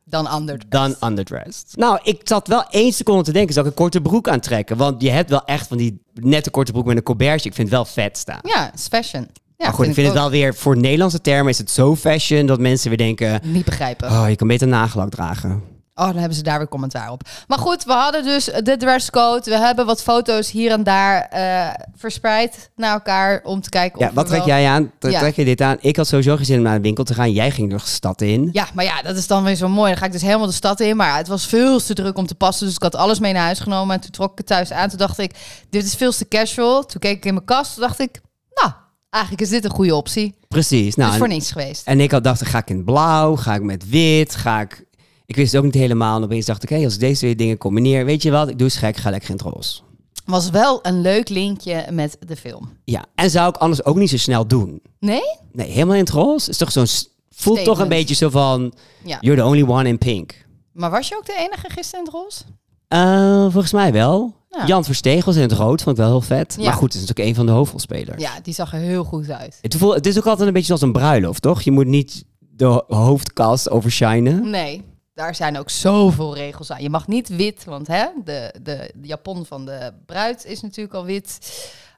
Speaker 2: Dan anders.
Speaker 3: dan underdressed. Nou, ik zat wel één seconde te denken, zal ik een korte broek aantrekken? Want je hebt wel echt van die nette korte broek met een colbertje. Ik vind het wel vet staan.
Speaker 2: Ja, het is fashion. Ja,
Speaker 3: maar goed, ik vind het wel weer voor Nederlandse termen is het zo fashion dat mensen weer denken:
Speaker 2: wel... Niet begrijpen.
Speaker 3: oh, je kan beter nagelak dragen.
Speaker 2: Oh, dan hebben ze daar weer commentaar op. Maar goed, we hadden dus de dresscode. We hebben wat foto's hier en daar eh, verspreid naar elkaar om te kijken
Speaker 3: Ja,
Speaker 2: of
Speaker 3: wat
Speaker 2: we
Speaker 3: trek
Speaker 2: wel-
Speaker 3: jij aan? Tre-
Speaker 2: Ja.
Speaker 3: Trek je dit aan? Ik had sowieso geen zin om naar de winkel te gaan. Jij ging nog de stad in.
Speaker 2: Ja, maar ja, dat is dan weer zo mooi. Dan ga ik dus helemaal de stad in. Maar het was veel te druk om te passen. Dus ik had alles mee naar huis genomen. En toen trok ik het thuis aan. Toen dacht ik, dit is veel te casual. Toen keek ik in mijn kast. Toen dacht ik, nou, eigenlijk is dit een goede optie.
Speaker 3: Precies. Nou,
Speaker 2: dus voor
Speaker 3: en-
Speaker 2: niets geweest.
Speaker 3: en ik had dacht: ga ik in het blauw? Ga ik met wit? Ga ik. Ik wist het ook niet helemaal. En opeens dacht ik: hé, als ik deze twee dingen combineer, weet je wat? Ik doe eens gek, ga lekker in het roze.
Speaker 2: Was wel een leuk linkje met de film.
Speaker 3: Ja, en zou ik anders ook niet zo snel doen.
Speaker 2: Nee?
Speaker 3: Nee, helemaal in het roze is toch zo'n. s- Voelt toch een
Speaker 2: Statement.
Speaker 3: beetje zo van:
Speaker 2: Ja.
Speaker 3: you're the only one in pink.
Speaker 2: Maar was je ook de enige gisteren in het roze?
Speaker 3: Eh, volgens mij wel.
Speaker 2: Ja.
Speaker 3: Jan Versteeg was in het rood, vond ik wel heel vet.
Speaker 2: Ja.
Speaker 3: Maar goed, het is natuurlijk een van de hoofdrolspelers.
Speaker 2: Ja, die zag er heel goed uit.
Speaker 3: Het, voel- het is ook altijd een beetje als een bruiloft, toch? Je moet niet de ho- hoofdkast overshinen.
Speaker 2: Nee, daar zijn ook zoveel regels aan. Je mag niet wit, want hè, de, de, de japon van de bruid is natuurlijk al wit.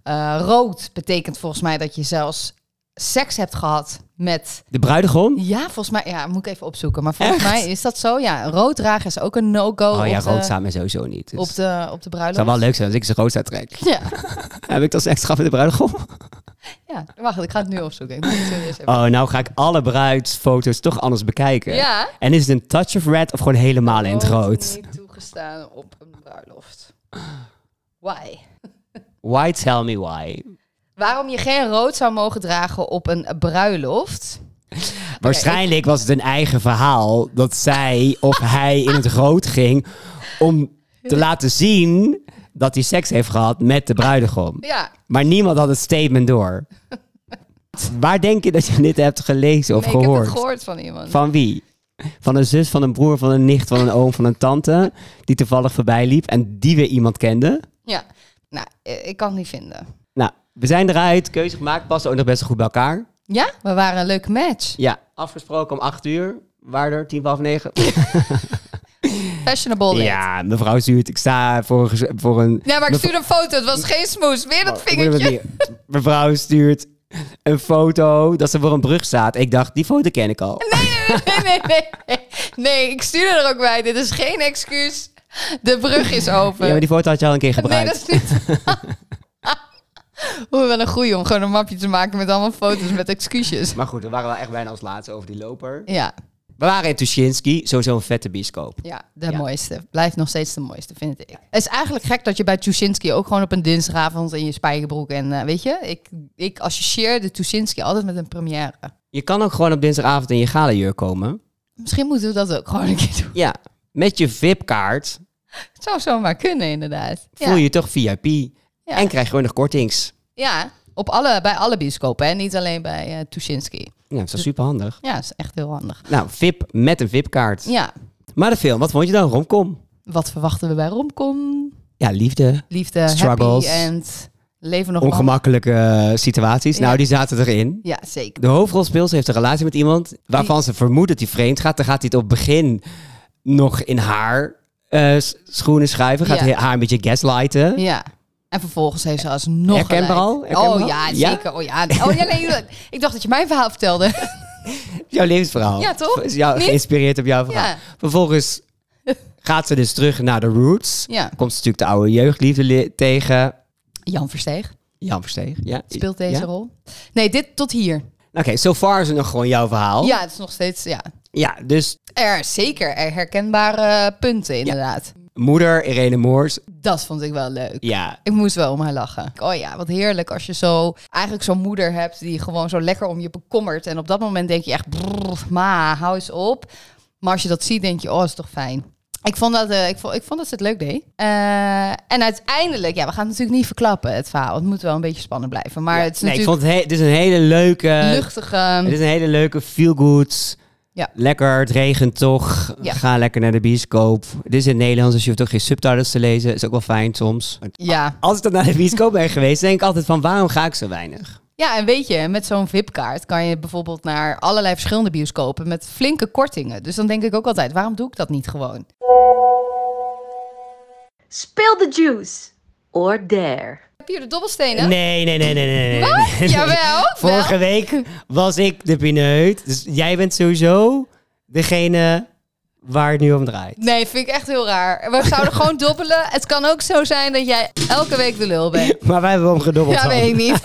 Speaker 2: Eh, rood betekent volgens mij dat je zelfs seks hebt gehad met...
Speaker 3: De bruidegom?
Speaker 2: Ja, volgens mij... Ja, moet ik even opzoeken. Maar volgens
Speaker 3: Echt?
Speaker 2: mij is dat zo. Ja, rood dragen is ook een no-go
Speaker 3: Oh ja,
Speaker 2: op,
Speaker 3: rood
Speaker 2: de,
Speaker 3: staat mij sowieso niet. Dus
Speaker 2: op, de, op de
Speaker 3: het zou
Speaker 2: bruiloft.
Speaker 3: wel leuk zijn als ik ze rood zou trekken.
Speaker 2: Ja,
Speaker 3: Heb ik dan seks gehad met de bruidegom?
Speaker 2: ja, wacht, ik ga het nu opzoeken. Ik moet het serieus even...
Speaker 3: Oh, nou ga ik alle bruidsfoto's toch anders bekijken.
Speaker 2: Ja. Oh,
Speaker 3: En is het een touch of red of gewoon helemaal in het rood?
Speaker 2: niet toegestaan op een bruiloft. Why?
Speaker 3: Why tell me why?
Speaker 2: Waarom je geen rood zou mogen dragen op een bruiloft.
Speaker 3: Waarschijnlijk was het een eigen verhaal dat zij of hij in het rood ging om te laten zien dat hij seks heeft gehad met de bruidegom.
Speaker 2: Ja,
Speaker 3: Maar niemand had het statement door. Waar denk je dat je dit hebt gelezen of
Speaker 2: nee, ik heb
Speaker 3: gehoord?
Speaker 2: het gehoord van iemand.
Speaker 3: Van wie? Van een zus, van een broer, van een nicht, van een oom, van een tante die toevallig voorbij liep en die weer iemand kende.
Speaker 2: Ja, nou, eh, ik kan het niet vinden.
Speaker 3: Nou, we zijn eruit, keuze gemaakt, passen ook nog best goed bij elkaar.
Speaker 2: Ja, we waren een leuke match.
Speaker 3: Ja, afgesproken om acht uur. Waarder, tien voor half negen.
Speaker 2: Fashionable date. Ja.
Speaker 3: Ja, mevrouw stuurt, ik sta voor een... gez- Voor een
Speaker 2: maar ik stuurde een foto. Het was geen smoes. Weer dat
Speaker 3: Wat moeten we
Speaker 2: vingertje.
Speaker 3: met die- Mevrouw stuurt een foto dat ze voor een brug staat. Ik dacht, die foto ken ik al.
Speaker 2: Nee, nee, nee, nee, nee. Nee, ik stuurde er ook bij. Dit is geen excuus. De brug is open.
Speaker 3: Ja, maar die foto had je al een keer
Speaker 2: nee,
Speaker 3: gebruikt.
Speaker 2: dat is niet... Hoe wel een goeie om gewoon een mapje te maken met allemaal foto's met excuses.
Speaker 3: Maar goed, we waren wel echt bijna als laatste over die loper.
Speaker 2: Ja,
Speaker 3: We waren in Tuschinski, sowieso een vette bioscoop.
Speaker 2: ja de
Speaker 3: Ja.
Speaker 2: mooiste. Blijft nog steeds de mooiste, vind ik. Het is eigenlijk gek dat je bij Tuschinski ook gewoon op een dinsdagavond in je spijkerbroek... En eh, weet je, ik, ik associeer de Tuschinski altijd met een première.
Speaker 3: Je kan ook gewoon op dinsdagavond in je galenjurk komen.
Speaker 2: Misschien moeten we dat ook gewoon een keer doen.
Speaker 3: Ja, met je VIP-kaart
Speaker 2: Het zou zomaar kunnen, inderdaad. Ja.
Speaker 3: voel je je toch VIP. En krijg je gewoon nog kortings.
Speaker 2: Ja, op alle, bij alle bioscopen, hè? niet alleen bij eh Tuschinski.
Speaker 3: Ja, dat is wel super handig.
Speaker 2: Ja, is echt heel handig.
Speaker 3: Nou, VIP met een VIP-kaart.
Speaker 2: Ja,
Speaker 3: Maar de film, wat vond je dan? Romcom?
Speaker 2: wat verwachten we bij romcom?
Speaker 3: Ja, liefde.
Speaker 2: Liefde,
Speaker 3: Struggles.
Speaker 2: happy end, leven nog lang.
Speaker 3: Ongemakkelijke eh, situaties.
Speaker 2: Ja.
Speaker 3: Nou, die zaten erin.
Speaker 2: Ja, zeker.
Speaker 3: De hoofdrolspeelster heeft een relatie met iemand waarvan ze vermoedt dat hij vreemd gaat. Dan gaat hij het op het begin nog in haar eh, s- schoenen schuiven. Gaat
Speaker 2: Ja.
Speaker 3: hij haar een beetje gaslighten.
Speaker 2: Ja. En vervolgens heeft ze alsnog
Speaker 3: Herkenbaar
Speaker 2: gelijk.
Speaker 3: al? Herkenbaar
Speaker 2: Oh
Speaker 3: al?
Speaker 2: ja,
Speaker 3: Ja?
Speaker 2: zeker. Oh ja. Oh, ja nee, ik dacht dat je mijn verhaal vertelde.
Speaker 3: Jouw levensverhaal.
Speaker 2: Ja, toch?
Speaker 3: Is jou,
Speaker 2: Niet?
Speaker 3: geïnspireerd op jouw verhaal.
Speaker 2: Ja.
Speaker 3: Vervolgens gaat ze dus terug naar de roots.
Speaker 2: Ja.
Speaker 3: Komt ze natuurlijk de oude jeugdliefde li- tegen.
Speaker 2: Jan Versteeg
Speaker 3: Jan Versteeg. Ja.
Speaker 2: speelt deze
Speaker 3: Ja?
Speaker 2: rol. Nee, dit tot hier.
Speaker 3: Oké, so far is het nog gewoon jouw verhaal.
Speaker 2: Ja, het is nog steeds, ja.
Speaker 3: Ja, dus
Speaker 2: Er zeker er herkenbare eh, punten, inderdaad.
Speaker 3: moeder Irene Moors.
Speaker 2: Dat vond ik wel leuk.
Speaker 3: Ja,
Speaker 2: Ik moest wel om haar lachen. Oh ja, wat heerlijk als je zo eigenlijk zo'n moeder hebt die gewoon zo lekker om je bekommert. En op dat moment denk je echt, brrr, ma, hou eens op. Maar als je dat ziet, denk je, oh, is toch fijn. Ik vond dat, eh, ik vond, ik vond dat ze het leuk deed. Eh, en uiteindelijk, ja, we gaan het natuurlijk niet verklappen, het verhaal. Het moet wel een beetje spannend blijven. Maar het is
Speaker 3: nee, ik
Speaker 2: natuurlijk
Speaker 3: vond het, he- het is een hele leuke...
Speaker 2: luchtig. ehm,
Speaker 3: Het is een hele leuke feel-good.
Speaker 2: Ja.
Speaker 3: Lekker, het regent toch.
Speaker 2: Ja.
Speaker 3: Ga lekker naar de bioscoop. Dit is in het Nederlands, dus je hoeft ook geen subtitles te lezen. Is ook wel fijn soms.
Speaker 2: ja.
Speaker 3: Als ik dan naar de bioscoop ben geweest, denk ik altijd van waarom ga ik zo weinig?
Speaker 2: ja, en weet je, met zo'n VIP-kaart kan je bijvoorbeeld naar allerlei verschillende bioscopen met flinke kortingen. Dus dan denk ik ook altijd, waarom doe ik dat niet gewoon?
Speaker 4: Spill the juice or dare.
Speaker 2: Heb je de dobbelstenen?
Speaker 3: Nee, nee, nee, nee, nee. nee, nee.
Speaker 2: Wat? Jawel,
Speaker 3: Vorige
Speaker 2: wel.
Speaker 3: week was ik de pineut. Dus jij bent sowieso degene waar het nu om draait.
Speaker 2: Nee, vind ik echt heel raar. We zouden gewoon dobbelen. Het kan ook zo zijn dat jij elke week de lul bent.
Speaker 3: Maar wij hebben hem gedobbeld.
Speaker 2: Ja,
Speaker 3: dan.
Speaker 2: weet ik niet.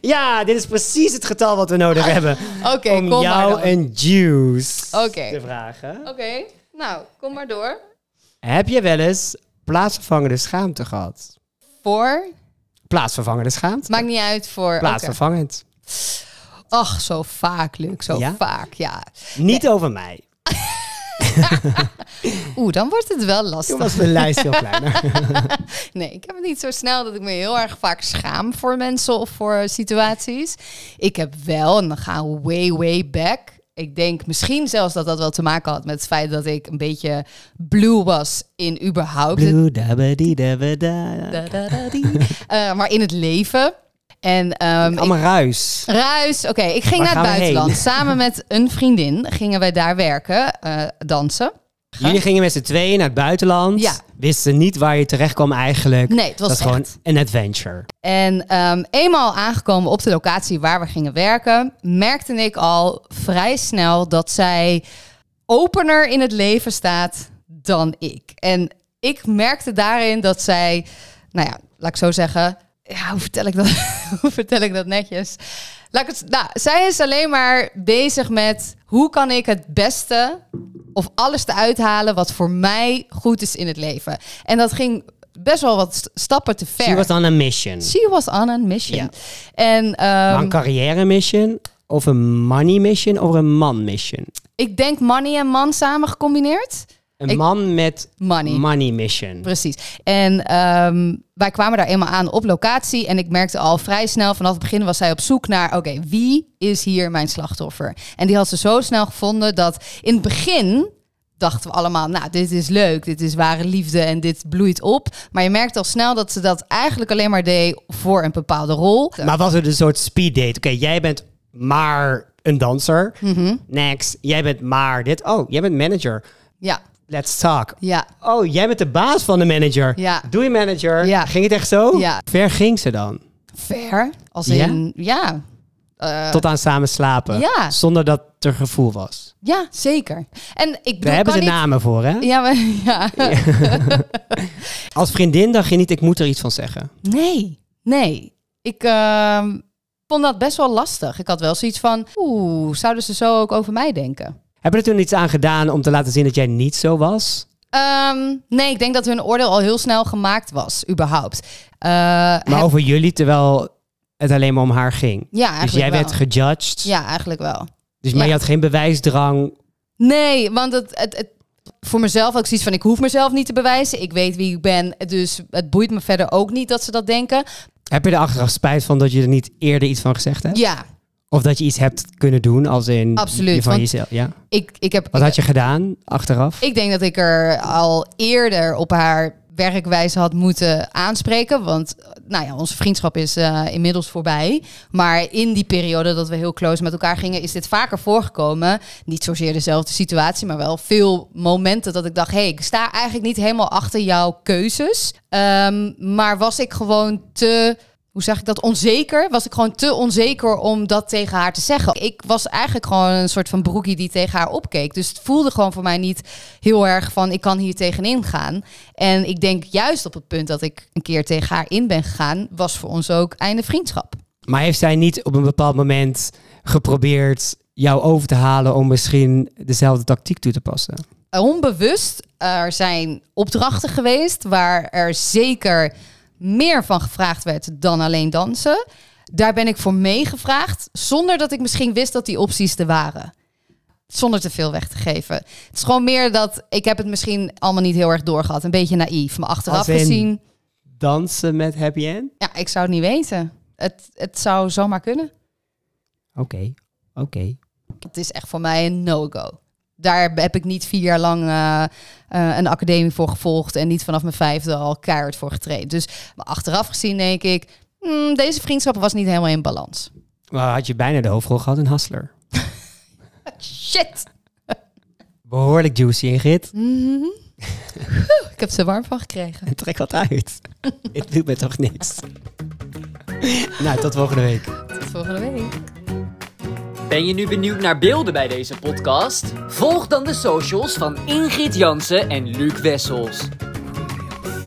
Speaker 3: Ja, dit is precies het getal wat we nodig hebben.
Speaker 2: Oké,
Speaker 3: om
Speaker 2: kom maar
Speaker 3: jou
Speaker 2: door.
Speaker 3: een juice
Speaker 2: Oké.
Speaker 3: te vragen.
Speaker 2: Oké, nou, kom maar door.
Speaker 3: Heb je wel eens plaatsvervangende schaamte gehad?
Speaker 2: Voor?
Speaker 3: Plaatsvervangende schaamte?
Speaker 2: Maakt niet uit voor... oké.
Speaker 3: Plaatsvervangend.
Speaker 2: Ach, zo vaak, Luc. Zo
Speaker 3: Ja?
Speaker 2: vaak, ja.
Speaker 3: Niet over mij.
Speaker 2: Oeh, dan wordt het wel
Speaker 3: Toen
Speaker 2: lastig.
Speaker 3: was mijn lijst heel kleiner.
Speaker 2: Nee, ik heb het niet zo snel dat ik me heel erg vaak schaam voor mensen of voor eh, situaties. Ik heb wel, en dan gaan we way, way back. Ik denk misschien zelfs dat dat wel te maken had met het feit dat ik een beetje blue was in überhaupt het
Speaker 3: Doe, da, ba, die, da, ba, da.
Speaker 2: Da, da, da, die. Eh, maar in het leven. En ehm, ik-
Speaker 3: Allemaal ruis.
Speaker 2: ruis. Oké, ik ging
Speaker 3: Waar gaan
Speaker 2: naar het
Speaker 3: we heen?
Speaker 2: buitenland. Samen met een vriendin gingen wij daar werken, eh, dansen.
Speaker 3: Jullie gingen met z'n tweeën naar het buitenland.
Speaker 2: Ja.
Speaker 3: Wisten niet waar je terecht kwam eigenlijk.
Speaker 2: Nee, het was
Speaker 3: Dat is gewoon
Speaker 2: echt.
Speaker 3: een adventure.
Speaker 2: En ehm, eenmaal aangekomen op de locatie waar we gingen werken, merkte ik al vrij snel dat zij opener in het leven staat dan ik. En ik merkte daarin dat zij, nou ja, laat ik zo zeggen, ja, hoe vertel ik dat, hoe vertel ik dat netjes? Laat ik het, nou, zij is alleen maar bezig met hoe kan ik het beste of alles te uithalen wat voor mij goed is in het leven. En dat ging best wel wat st- stappen te ver.
Speaker 3: She was on a mission.
Speaker 2: She was on a mission.
Speaker 3: Ja.
Speaker 2: En ehm,
Speaker 3: Maar een carrière mission, of een money mission, of een man mission?
Speaker 2: ik denk money en man samen gecombineerd.
Speaker 3: Een
Speaker 2: Ik-
Speaker 3: man met
Speaker 2: Money.
Speaker 3: money mission.
Speaker 2: Precies. En ehm, wij kwamen daar eenmaal aan op locatie. En ik merkte al vrij snel, vanaf het begin was zij op zoek naar... oké, wie is hier mijn slachtoffer? En die had ze zo snel gevonden dat in het begin dachten we allemaal... nou, dit is leuk, dit is ware liefde en dit bloeit op. Maar je merkt al snel dat ze dat eigenlijk alleen maar deed voor een bepaalde rol.
Speaker 3: Maar was het een soort speed date? Oké, jij bent
Speaker 2: Mhm.
Speaker 3: maar een danser. Next, jij bent maar dit. Oh, jij bent manager.
Speaker 2: Ja,
Speaker 3: Let's talk.
Speaker 2: ja.
Speaker 3: Oh, jij bent de baas van de manager.
Speaker 2: Ja.
Speaker 3: Doe je manager.
Speaker 2: Ja.
Speaker 3: Ging het echt zo?
Speaker 2: Ja.
Speaker 3: Ver ging ze dan?
Speaker 2: Ver. Als
Speaker 3: Ja?
Speaker 2: in, ja. Eh,
Speaker 3: Tot aan samen slapen.
Speaker 2: Ja.
Speaker 3: Zonder dat er gevoel was.
Speaker 2: ja, zeker. En ik bedoel,
Speaker 3: Daar hebben ze
Speaker 2: kan niet-
Speaker 3: namen voor, hè?
Speaker 2: Ja, maar, ja.
Speaker 3: Als vriendin dacht je niet, ik moet er iets van zeggen.
Speaker 2: Nee, nee. Ik ehm, vond dat best wel lastig. Ik had wel zoiets van, oeh, zouden ze zo ook over mij denken?
Speaker 3: Hebben er toen iets aan gedaan om te laten zien dat jij niet zo was?
Speaker 2: Ehm, nee, ik denk dat hun oordeel al heel snel gemaakt was, überhaupt. Eh,
Speaker 3: Maar
Speaker 2: heb-
Speaker 3: over jullie, terwijl het alleen maar om haar ging.
Speaker 2: ja, eigenlijk
Speaker 3: dus jij
Speaker 2: wel.
Speaker 3: werd gejudged.
Speaker 2: Ja, eigenlijk wel.
Speaker 3: Dus, maar
Speaker 2: Ja.
Speaker 3: je had geen bewijsdrang.
Speaker 2: Nee, want het, het, het- voor mezelf ook zoiets van... ik hoef mezelf niet te bewijzen. Ik weet wie ik ben. Dus het boeit me verder ook niet dat ze dat denken.
Speaker 3: Heb je er achteraf spijt van dat je er niet eerder iets van gezegd hebt?
Speaker 2: Ja,
Speaker 3: Of dat je iets hebt kunnen doen als in
Speaker 2: Absoluut,
Speaker 3: je van
Speaker 2: want-
Speaker 3: jezelf? Ja.
Speaker 2: ik, ik heb...
Speaker 3: Wat had je gedaan achteraf?
Speaker 2: Ik denk dat ik er al eerder op haar werkwijze had moeten aanspreken. Want nou ja, onze vriendschap is eh, inmiddels voorbij. Maar in die periode dat we heel close met elkaar gingen, is dit vaker voorgekomen. Niet zozeer dezelfde situatie, maar wel veel momenten dat ik dacht: hé, hey, ik sta eigenlijk niet helemaal achter jouw keuzes. Ehm, maar was ik gewoon te. Hoe zeg ik dat? Onzeker? Was ik gewoon te onzeker om dat tegen haar te zeggen? Ik was eigenlijk gewoon een soort van broekie die tegen haar opkeek. Dus het voelde gewoon voor mij niet heel erg van ik kan hier tegenin gaan. En ik denk juist op het punt dat ik een keer tegen haar in ben gegaan, was voor ons ook einde vriendschap.
Speaker 3: Maar heeft zij niet op een bepaald moment geprobeerd jou over te halen om misschien dezelfde tactiek toe te passen?
Speaker 2: Onbewust, er zijn opdrachten geweest waar er zeker meer van gevraagd werd dan alleen dansen. Daar ben ik voor meegevraagd, zonder dat ik misschien wist dat die opties er waren. Zonder te veel weg te geven. Het is gewoon meer dat ik heb het misschien allemaal niet heel erg doorgehad. Een beetje naïef, maar achteraf
Speaker 3: Als in-
Speaker 2: gezien...
Speaker 3: Dansen met happy end?
Speaker 2: Ja, ik zou het niet weten. Het, het zou zomaar kunnen.
Speaker 3: Oké, oké.
Speaker 2: Het is echt voor mij een no-go. Daar heb ik niet vier jaar lang eh, eh, een academie voor gevolgd en niet vanaf mijn vijfde al keihard voor getraind. Dus maar achteraf gezien denk ik, hmm, deze vriendschap was niet helemaal in balans.
Speaker 3: Maar had je bijna de hoofdrol gehad in Hustler?
Speaker 2: Shit!
Speaker 3: Behoorlijk juicy, Ingrid.
Speaker 2: Mhm. Oeh, ik heb ze warm van gekregen.
Speaker 3: En trek wat uit. Het doet me toch niks. nou, tot volgende week.
Speaker 2: Tot volgende week.
Speaker 1: Ben je nu benieuwd naar beelden bij deze podcast? Volg dan de socials van Ingrid Jansen en Luc Wessels.